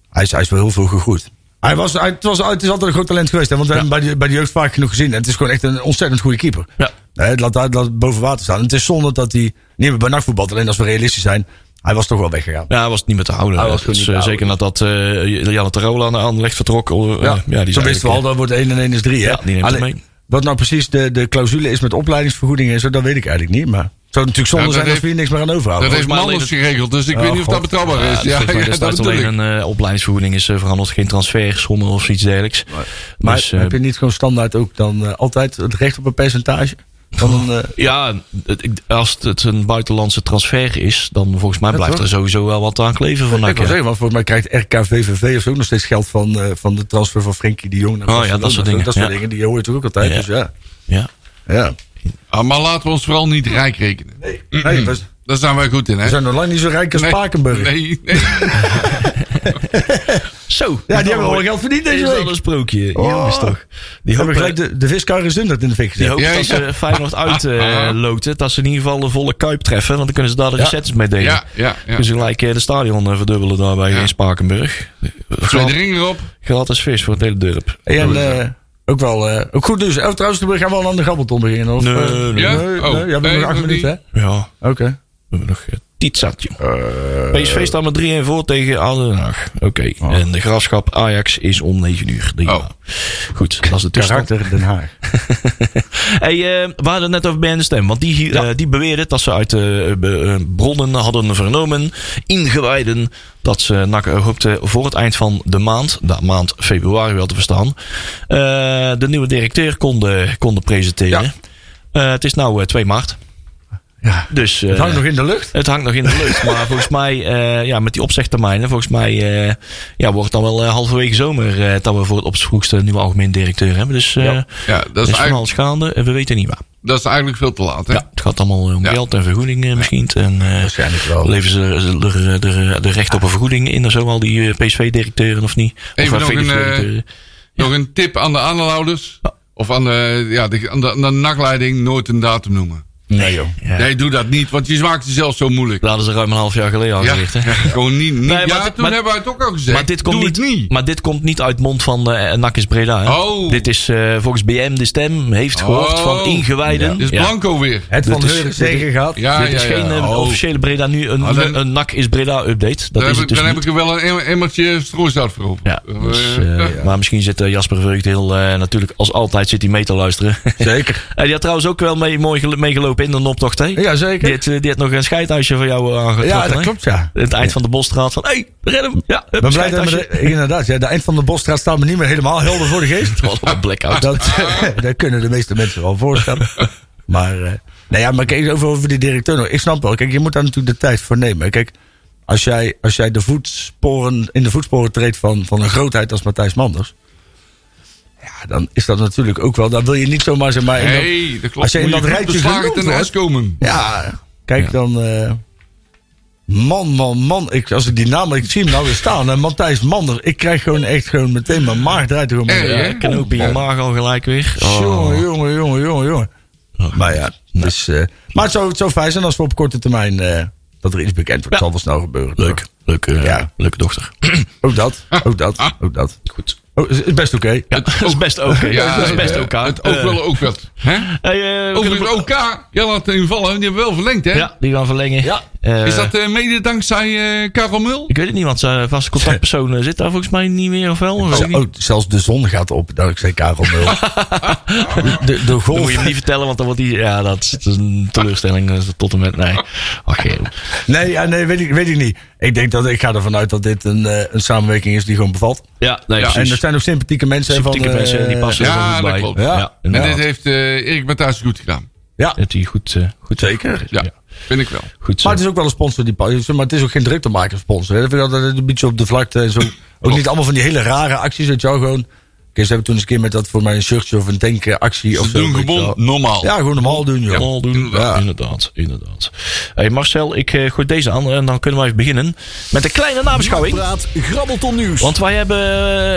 C: Hij is, hij is wel heel veel gegroeid. Hij was, hij, het, was, het is altijd een groot talent geweest. Hè, want we hebben hem bij de, bij de jeugd vaak genoeg gezien. En het is gewoon echt een ontzettend goede keeper.
B: Ja.
C: Hè, het laat, hij- laat boven water staan. En het is zonde dat hij... Niet meer bij nachtvoetbal, alleen als we realistisch zijn. Hij was toch wel weggegaan.
B: Ja, hij was het niet meer te houden.
C: Hij was
B: Het
C: gewoon
B: is,
C: niet te
B: eh,
C: houden.
B: zeker nadat eh Janne Terola aan de aanleg vertrok. eh, ja, die
C: Zo
B: is
C: wisten we al,
B: eigenlijk,
C: dat wordt 1 en 1 is 3.
B: Ja, die neemt het mee.
C: Wat nou precies de, de clausule is met opleidingsvergoedingen en zo, dat weet ik eigenlijk niet. Maar het zou natuurlijk zonde
D: Ja, dat
C: zijn als
D: heeft-
C: we hier niks meer aan overhouden.
D: Dat heeft
B: mij
D: Manders
B: alleen
D: geregeld, dus ik
C: Oh,
D: weet niet of dat
C: God.
D: betrouwbaar is.
B: eh, Ja,
D: Ja,
B: dat
D: ja,
B: is
D: dat bedoel
B: alleen
D: ik.
B: een eh, opleidingsvergoeding is eh, veranderd. Geen transfersommen of zoiets dergelijks.
C: maar
B: dus, eh,
C: heb je niet gewoon standaard ook dan eh, altijd het recht op een percentage? Van een,
B: Ah,
C: eh,
B: Ja, het- ik- als het een buitenlandse transfer is, dan volgens mij blijft
C: toch?
B: er sowieso wel wat aan kleven van
C: ik
B: NAC,
C: wil
B: ja.
C: zeggen, want volgens mij krijgt RKVVV of zo ook nog steeds geld van, eh, van de transfer van Frenkie de Jong. naar
B: Oh ja,
C: Barcelona.
B: dat soort dingen,
C: Dat soort
B: ja.
C: dingen, die hoor je toch ook altijd.
B: Ja.
C: Dus ja.
B: Ja.
C: ja.
D: Ah, maar laten we ons vooral niet rijk rekenen.
C: Nee, we,
D: Daar zijn wij goed in, hè?
C: we zijn nog lang niet zo rijk als
D: Nee,
C: Spakenburg.
D: Nee, nee.
B: Zo.
C: Ja, die hebben wel geld verdiend
B: Is
C: deze
B: dat
C: week.
B: een sprookje?
C: Oh.
B: Jongens toch.
C: Die hebben
B: hopen-
C: gelijk de, de viskar is in dat in de fik
B: Die
C: gezet.
B: hoop
D: Ja,
B: dat
D: ja.
B: ze Feyenoord uitloten. eh, dat ze in ieder geval de volle kuip treffen. Want dan kunnen ze daar de recets mee delen.
D: Ja, ja, ja.
B: Kunnen ze gelijk eh, de stadion eh, verdubbelen daarbij
D: Ja.
B: in Spakenburg.
D: Tweede
B: Grat-
D: ring erop.
B: Gratis vis voor het hele dorp.
C: En eh, ook wel eh, ook goed nieuws. Oh, trouwens, we gaan wel aan de gabbelton beginnen. Of,
B: Nee,
C: eh,
B: nee, nee.
D: Ja?
C: nee,
D: Oh,
C: nee, ja, we hebben
D: nee,
C: nog acht
D: nog
C: minuten, hè?
D: niet.
B: Ja,
C: Oké.
B: we hebben nog eh, tietzat, joh.
C: Eh,
B: PSV staat met 3-1 voor tegen Aden Den Haag. Oké.
C: Oh.
B: En de graafschap Ajax is om 9 uur. Prima.
D: Oh.
B: Goed, dat is de tussenstand.
C: Karakter Den Haag.
B: [LAUGHS] Hey, eh, we hadden het net over Ben Stem. Want die, hier, eh, die beweerde dat ze uit eh, be- eh, bronnen hadden vernomen, ingewijden, dat ze NAC hoopte voor het eind van de maand, de maand februari wel te verstaan, eh, de nieuwe directeur konden, konden presenteren. Eh, het is nu 2 maart.
C: Ja.
B: Dus, eh,
C: Het hangt nog in de lucht.
B: het hangt nog in de lucht. Maar
D: [LAUGHS]
B: volgens mij, eh, ja, met die opzegtermijnen, volgens mij eh, ja, wordt het dan wel eh, halverwege zomer eh, dat we voor het op het vroegste nieuwe algemeen directeur hebben. Dus eh
D: Ja,
B: er is
D: dat is,
B: van
D: eigenlijk,
B: alles gaande en we weten niet waar.
D: dat is eigenlijk veel te laat, hè?
B: Ja, het gaat allemaal om
D: Ja.
B: geld en vergoedingen misschien. En, eh,
C: Waarschijnlijk wel.
B: Leven ze er- er- er- de recht op een vergoeding in of zo, al die eh, PSV-directeuren of niet?
D: Even
B: of eh,
D: nog een, eh,
B: VVV-directeuren.
D: Nog een tip aan de aanhouders. Of aan de, ja, de, aan de, aan de nakleiding nooit een datum noemen.
B: Nee joh. Ja.
D: Nee, doe dat niet, want je maakt jezelf zo moeilijk.
B: Dat hadden ze ruim een half jaar geleden al
D: Ja,
B: gezegd. Hè?
D: ja, [LAUGHS] gewoon niet. niet.
B: maar
D: ja,
B: dit-
D: toen
B: maar-
D: hebben we het ook al gezegd.
B: Maar dit, komt
D: doe
B: niet,
D: het niet.
B: maar dit komt niet uit mond van eh Nakis Breda. Hè?
D: Oh.
B: Dit is eh, volgens BM de stem, heeft gehoord
D: Oh.
B: van ingewijden.
D: Dit is
B: Ja.
D: Blanco weer.
C: Het van
B: Dit is-
C: Heuren tegen gehad.
D: Ja,
B: dit is
D: ja, ja.
B: geen eh,
D: Oh.
B: officiële Breda nu, een,
D: Ah, dan-
B: een Nak is Breda update. Dat
D: Daar
B: is
D: heb,
B: het
D: ik-
B: dus
D: dan
B: niet.
D: heb ik er wel een em- emmertje strooisout voor op.
B: Ja,
D: Eh,
B: dus,
D: eh, [LAUGHS]
B: eh, Maar misschien zit eh, Jasper Vreugd heel... eh, natuurlijk, als altijd zit hij mee te luisteren. [LAUGHS]
C: Zeker.
B: en die had trouwens ook wel mee, mooi gelo- meegelopen in de optocht, hè?
C: Ja,
B: Die
C: zeker.
B: had, eh, die had nog een scheidhuisje van jou eh, aangetrokken,
C: Ja, dat
B: hè?
C: klopt, ja.
B: Het eind van de bosstraat van... Hé, hey, red hem! Ja, hup,
C: Ik ben blij dat
B: scheidhuisje.
C: we de- inderdaad, ja, de eind van de bosstraat staat me niet meer helemaal helder voor de
B: [LAUGHS]
C: geest.
B: Het was wel een blackout.
C: Nou,
D: [LAUGHS]
C: Dat, [LAUGHS] dat kunnen de meeste mensen wel voorstellen. Maar, eh nou ja, maar kijk, over, over die directeur nog. Ik snap wel. Kijk, je moet daar natuurlijk de tijd voor nemen. Kijk, als jij, als jij de voetsporen, in de voetsporen treedt van, van een grootheid als Matthijs Manders. Ja, dan is dat natuurlijk ook wel. Dan wil je niet zomaar zeg maar. in dat-
D: hey, dat klopt.
C: als je in
D: Moet
C: dat
D: goed
C: rijtje
D: beslagen
C: genoemd
D: ten
C: wordt.
D: huis komen.
C: ja, kijk
B: Ja.
C: dan. eh, man, man, man. Ik, als ik die naam. Ik zie hem nou weer staan. En Matthijs Manders. Ik krijg gewoon echt gewoon meteen mijn maag draait er gewoon
D: Erg,
C: mee.
D: hè?
B: Ik kan ook
C: Oh.
B: bij je maag al gelijk weer. Oh.
C: Jongen, jongen, jongen, jongen, jongen. Maar ja, dus, eh, maar het zou, het zou fijn zijn als we op korte termijn eh, dat er iets bekend wordt. Het zal wel snel gebeuren.
B: Leuk, leuk, eh,
C: Ja.
B: leuke dochter. [LAUGHS]
C: Ook dat, ook dat, ook dat.
B: Goed.
C: Oh, is, is best oké.
B: Ja, dat is best oké.
D: Ja,
B: dat is best
D: eh,
B: oké.
D: Het ook
B: Eh,
D: wel ook wat. Hè?
B: hey, eh, we
D: Overigens,
B: kunnen-
D: OK, jij laat invallen, die hebben wel verlengd, hè?
B: Ja, die gaan verlengen.
C: Ja.
B: Eh,
D: Is dat eh, mede dankzij eh Karel Mul?
B: Ik weet het niet, want zijn vaste contactpersoon eh, zit daar volgens mij niet meer of wel. Weet ik
C: Oh,
B: niet.
C: oh, zelfs de zon gaat op. Nou, ik zei Karel Mul.
B: [LAUGHS]
C: De, de
B: Dan moet je
C: golf.
B: hem niet vertellen, want dan wordt hij... Ja, dat is, dat is
C: Ah.
B: een teleurstelling eh, tot en met... Nee. Ach, joh.
C: Nee, ja, nee weet, ik, weet ik niet. Ik denk dat ik ga ervan uit dat dit een, eh, een samenwerking is die gewoon bevalt.
B: Ja, nee,
D: Ja,
C: En
B: precies.
C: dat zijn ook sympathieke mensen.
B: Sympathieke
C: van, eh,
B: mensen, die passen er
D: ja,
B: wel goed
D: dat
B: bij.
D: klopt.
C: Ja.
B: Ja,
D: En
B: inderdaad.
D: dit heeft eh Erik Matthijs goed gedaan.
C: Ja,
B: Dat hij goed... eh, goed
C: zeker.
D: Ja, vind ik wel.
B: Goed zo.
C: Maar het is ook wel een sponsor die past. Maar het is ook geen druktemaker sponsor. hè. Dat vind ik altijd een beetje op de vlakte. En zo. Ook niet allemaal van die hele rare acties. Dat jou gewoon. Oké, ze hebben toen eens een keer met dat voor mij een shirtje of een tankactie actie. of
D: Ze
C: zo,
D: doen
C: weet je
D: gewoon
C: wel.
D: normaal.
C: Ja, gewoon normaal doen, joh.
B: Allemaal doen.
D: inderdaad.
B: Ja, inderdaad, inderdaad. Hey Marcel, ik eh, gooi deze aan en dan kunnen we even beginnen met een kleine nabeschouwing.
A: Praat Grabbelton Nieuws.
B: Want wij hebben,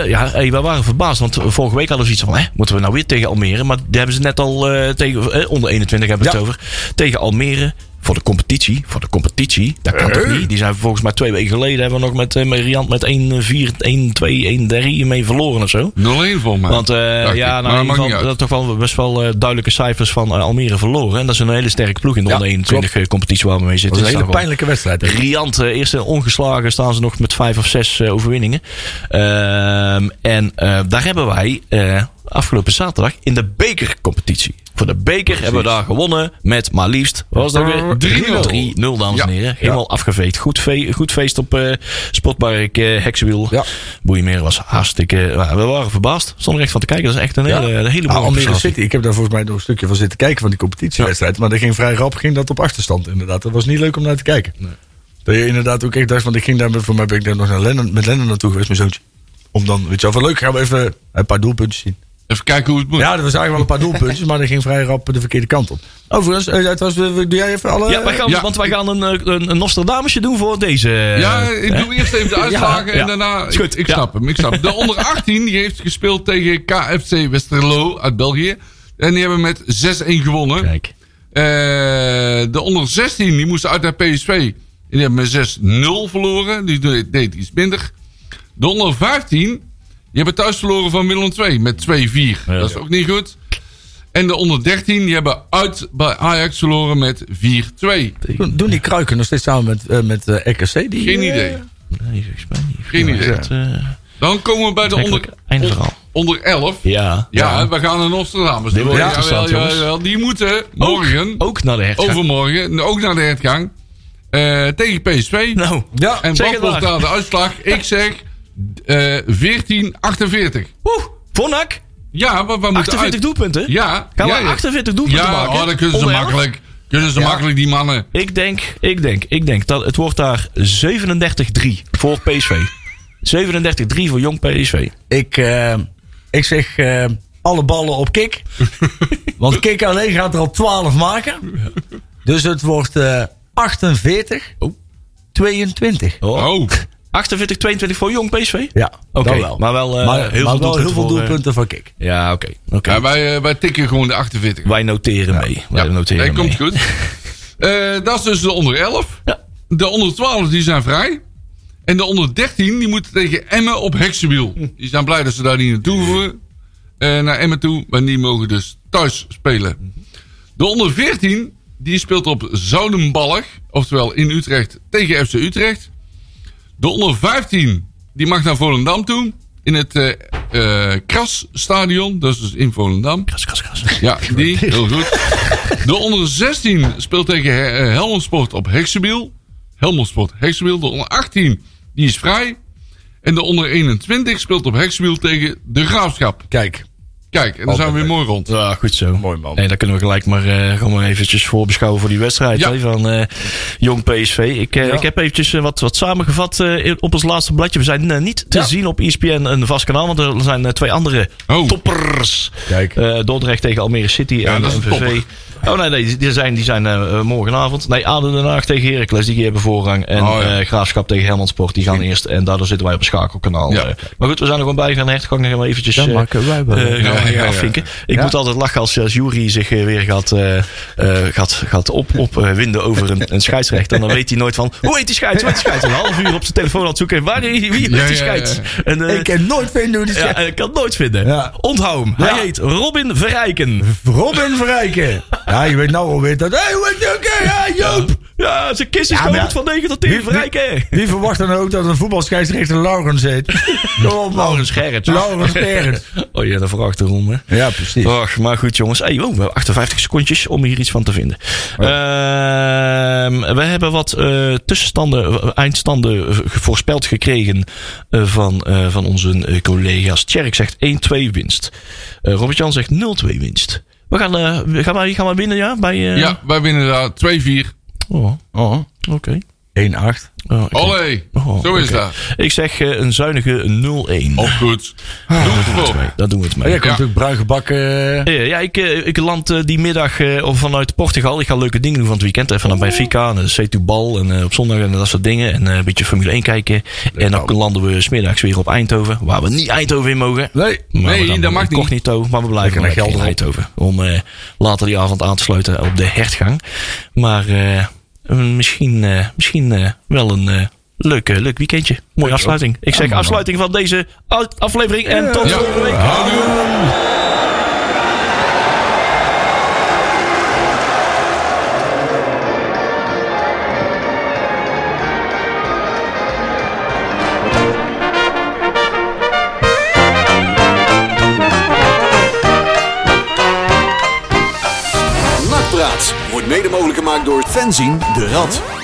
B: eh, ja, hey, wij waren verbaasd, want vorige week hadden we iets van, hè, moeten we nou weer tegen Almere? Maar die hebben ze net al eh, tegen, eh, onder 21 hebben we
C: Ja.
B: het over, tegen Almere. Voor de competitie, voor de competitie, dat kan
C: Eh.
B: toch niet? Die zijn volgens mij twee weken geleden hebben we nog met eh, met Riant met 1-4, 1-2, 1-3 mee verloren of zo.
D: 0-1 volgens mij.
B: Want eh,
D: Dacht
B: ja,
D: ik. maar
B: nou, in
D: dat
B: ieder
D: maakt
B: geval,
D: niet uit.
B: dat toch wel best wel eh, duidelijke cijfers van eh, Almere verloren. En dat is een hele sterke ploeg in de
C: Ja,
B: onder 21 competitie waar we mee
C: Dat
B: zitten.
C: is een
B: Dus
C: hele
B: daar gewoon
C: pijnlijke wedstrijd. hè.
B: Riant, eh, eerste ongeslagen staan ze nog met vijf of zes eh, overwinningen. Ehm, en eh, daar hebben wij eh, afgelopen zaterdag in de bekercompetitie. Voor de beker hebben we daar gewonnen met maar liefst, wat was dat weer?
D: 3-0.
B: 3-0, dames
D: Ja.
B: en heren. Helemaal afgeveegd. Goed, fe- goed feest op eh Sportpark eh Heksenwiel.
C: Ja.
B: Boeimeer was hartstikke... nou, we waren verbaasd. Stonden er echt van te kijken. Dat is echt een hele, een
D: Ah,
B: hele mooie
C: Nou, Almere
B: prestatie.
C: City, ik heb daar volgens mij nog een stukje van zitten kijken van die competitiewedstrijd. Maar dat ging vrij rap, ging dat op achterstand inderdaad. Dat was niet leuk om naar te kijken. Dat je inderdaad ook echt dacht, want ik ging daar, met- voor mij ben ik daar nog naar Lennon, met Lennon naartoe geweest, mijn zoontje. Om dan, weet je wel, van leuk, gaan we even een paar doelpuntjes zien.
D: Even kijken hoe het moet.
C: Ja, er waren wel een paar doelpuntjes, maar dat ging vrij rap de verkeerde kant op. Overigens, eh, het was, eh, doe jij even alle...
B: Ja, wij gaan,
D: Ja.
B: want wij gaan een, eh, een, een Nostradamusje doen voor deze...
D: Ja,
B: eh,
D: ik doe eerst even de
B: [LAUGHS]
D: uitslagen
B: ja.
D: en daarna...
B: Is goed,
D: ik
B: ja.
D: snap hem, ik snap hem. De onder 18 die heeft gespeeld tegen KFC Westerlo uit België. En die hebben met 6-1 gewonnen.
B: Kijk.
D: Eh, de onder 16 die moesten uit naar PSV. En die hebben met 6-0 verloren. Die deed, deed iets minder. De onder 15 die hebben thuis verloren van Willem 2 met 2-4.
B: Ja.
D: Dat is ook niet goed. En de onder 13 die hebben uit bij Ajax verloren met 4-2.
C: Doen, doen die kruiken nog steeds samen met, eh, met eh, RKC? Die,
D: Geen
C: eh,
D: idee.
B: Nee, volgens mij niet.
D: Geen
B: Volgens mij
D: idee.
B: is dat, eh,
D: Dan komen we bij de onder,
B: Eigenlijk eindverhaal.
D: onder 11.
B: ja.
D: Ja, we gaan naar
B: Dit
D: Nostradamus. doen.
B: wordt
D: Ja,
B: interessant,
D: jawel,
B: jongens.
D: jawel. Die moeten morgen,
B: Ook, ook naar de hertgang.
D: overmorgen, ook naar de hertgang. eh, tegen PSV.
B: Nou,
C: Ja,
D: en
B: zeg
D: wat
B: het
D: wordt
B: maar.
D: daar de uitslag? Ik zeg eh 14-48.
B: oeh, voor NAC,
D: Ja, maar we moeten
B: 48
D: uit.
B: doelpunten.
D: Ja.
B: Gaan
D: ja,
B: we
D: ja.
B: 48 doelpunten
D: Ja,
B: maken?
D: oh, dan kunnen ze
B: Onder elf?
D: makkelijk. Kunnen ze makkelijk die mannen.
B: Ik denk, ik denk, ik denk dat het wordt daar 37-3 voor PSV. 37-3 voor jong PSV.
C: Ik, eh, ik zeg eh, alle ballen
B: [LAUGHS]
C: op Kik. Want Kik alleen gaat er al 12 maken. Dus het wordt eh 48,
B: Oh.
C: 22.
B: Oh.
D: Oh,
B: 48-22 voor jong PSV?
C: Ja,
B: Oké,
C: dan wel.
B: maar wel, eh, heel veel
C: wel
B: doelpunten
C: heel veel
B: voor, eh,
C: doelpunten van Kik.
B: Ja, oké. oké.
D: ja, wij, eh, wij tikken gewoon de 48.
B: Wij noteren mee. Wij
D: Ja,
B: noteren
D: nee,
B: mee.
D: komt
B: [LAUGHS]
D: goed. Eh, dat is dus de onder 11.
B: Ja.
D: De onder 12 die zijn vrij. En de onder 13 die moeten tegen Emmen op Heksenwiel. Die zijn blij dat ze daar niet naartoe hoeven. eh, naar Emmen toe. Maar die mogen dus thuis spelen. De onder 14 die speelt op Zoudenballig. Oftewel in Utrecht tegen FC Utrecht. De onder 15 die mag naar Volendam toe. In het eh eh, Krasstadion. Dat is dus in Volendam.
B: Kras, kras, kras.
D: Ja, die. Heel goed. De onder 16 speelt tegen eh, eh, Helmond Sport op Heksenbiel. Helmond Sport Heksenbiel. De onder 18 die is vrij. En de onder 21 speelt op Heksenbiel tegen de Graafschap.
C: Kijk,
D: Kijk, en dan zijn we weer mooi rond.
B: Ja, goed zo.
C: Mooi, man.
B: Nee, dan kunnen we gelijk maar eh, gewoon maar eventjes voorbeschouwen voor die wedstrijd
D: Ja.
B: hè, van eh, Jong PSV. Ik, eh,
C: Ja.
B: ik heb eventjes eh, wat, wat samengevat eh, in- op ons laatste bladje. We zijn eh, niet te
C: Ja.
B: zien op ESPN een vast kanaal, want er zijn eh, twee andere
D: Oh.
B: toppers.
C: Kijk.
B: Eh, Dordrecht tegen Almere City en
D: dat is een
B: MVV. Oh nee, nee, die- die zijn, die zijn eh, eh, morgenavond. Nee, Aden Den Haag tegen Heracles, die hebben voorrang. En
D: Oh, ja.
B: eh, Graafschap tegen Helmond Sport, die gaan eerst. En daardoor zitten wij op een schakelkanaal.
D: Ja.
B: eh. maar goed, we zijn er gewoon bij gaan hertgang. Dan gaan we eventjes
C: Dan
B: eh,
C: maken wij wel.
B: eh,
C: Ja,
B: gaan we
D: ja, ja.
B: afvinken. Ik
C: Ja.
B: moet altijd lachen als, als jury zich eh, weer gaat, eh, eh, gaat, gaat op, opwinden over een, een scheidsrechter. En dan weet hij nooit van, hoe heet die scheids? Hoe heet die scheids? Een half uur op zijn telefoon aan het zoeken. Waar, wie heet
D: Ja,
B: die
D: ja, ja.
B: scheids? En, eh,
C: ik kan nooit vinden hoe die
B: ja,
C: zegt.
B: ik kan het nooit vinden.
C: Ja.
B: Onthoud hem.
C: Ja.
B: Hij heet Robin Verrijken.
C: Robin Verrijken. Ja, je weet nou alweer dat... Hey, hoe heet je ook? hè? Ja, Joop.
B: Ja, zijn kist is
C: Ja,
B: gewoon
C: maar-
B: goed van 9 tot 10.
C: Wie- wie-
B: Verrijken.
C: Wie verwacht dan ook dat een voetbalscheidsrechter Laurens heet? Oh, man.
B: Laurens Gerrits.
C: Laurens Gerrits.
B: Oh ja, dat voor achterom, hè.
C: Ja, precies.
B: Och, maar goed jongens. Hey, wow, we hebben 58 secondjes om hier iets van te vinden.
C: Oh,
B: Ehm, we hebben wat eh, tussenstanden, eindstanden v- voorspeld gekregen eh, van, eh, van onze eh, collega's. Tjerk zegt 1-2 winst. Eh, Robert-Jan zegt 0-2 winst. We gaan, eh, we- gaan, wij, gaan wij winnen, ja? Bij, eh,
D: Ja, wij winnen daar 2-4.
B: Oh,
C: Oh.
B: oké.
C: 1-8.
B: Oh, oké.
D: Olé,
B: Oh,
D: zo is
B: oké.
D: dat.
B: Ik zeg eh, een zuinige 0-1.
D: Ook goed. Doe
B: Ah,
D: het voor.
B: Dat doen we het mee.
C: Oh, jij komt
D: Ja.
C: natuurlijk bruin gebakken.
B: Eh, Ja, ik, eh, ik land eh, die middag eh, of vanuit Portugal. Ik ga leuke dingen doen van het weekend. Even naar Benfica en C2 Bal en eh, op zondag en dat soort dingen. En eh, een beetje Formule 1 kijken. En
D: nou.
B: dan landen we smiddags weer op Eindhoven. Waar we niet Eindhoven in mogen.
C: Nee.
B: Maar
D: Nee,
B: we dan
D: dat mag niet.
B: incognito, Maar we blijven
C: Lekker
B: nog
C: naar
B: in Eindhoven. Om eh, later die avond aan te sluiten op de hertgang. Maar eh, een- misschien, eh, misschien eh, wel een... eh, Leuk, eh, leuk weekendje. Mooie afsluiting. Ik zeg afsluiting van deze uit- aflevering. En tot
D: Ja,
B: volgende week.
D: houdoe.
E: Thank
A: Raads wordt mede mogelijk gemaakt door Fenzin de Rad.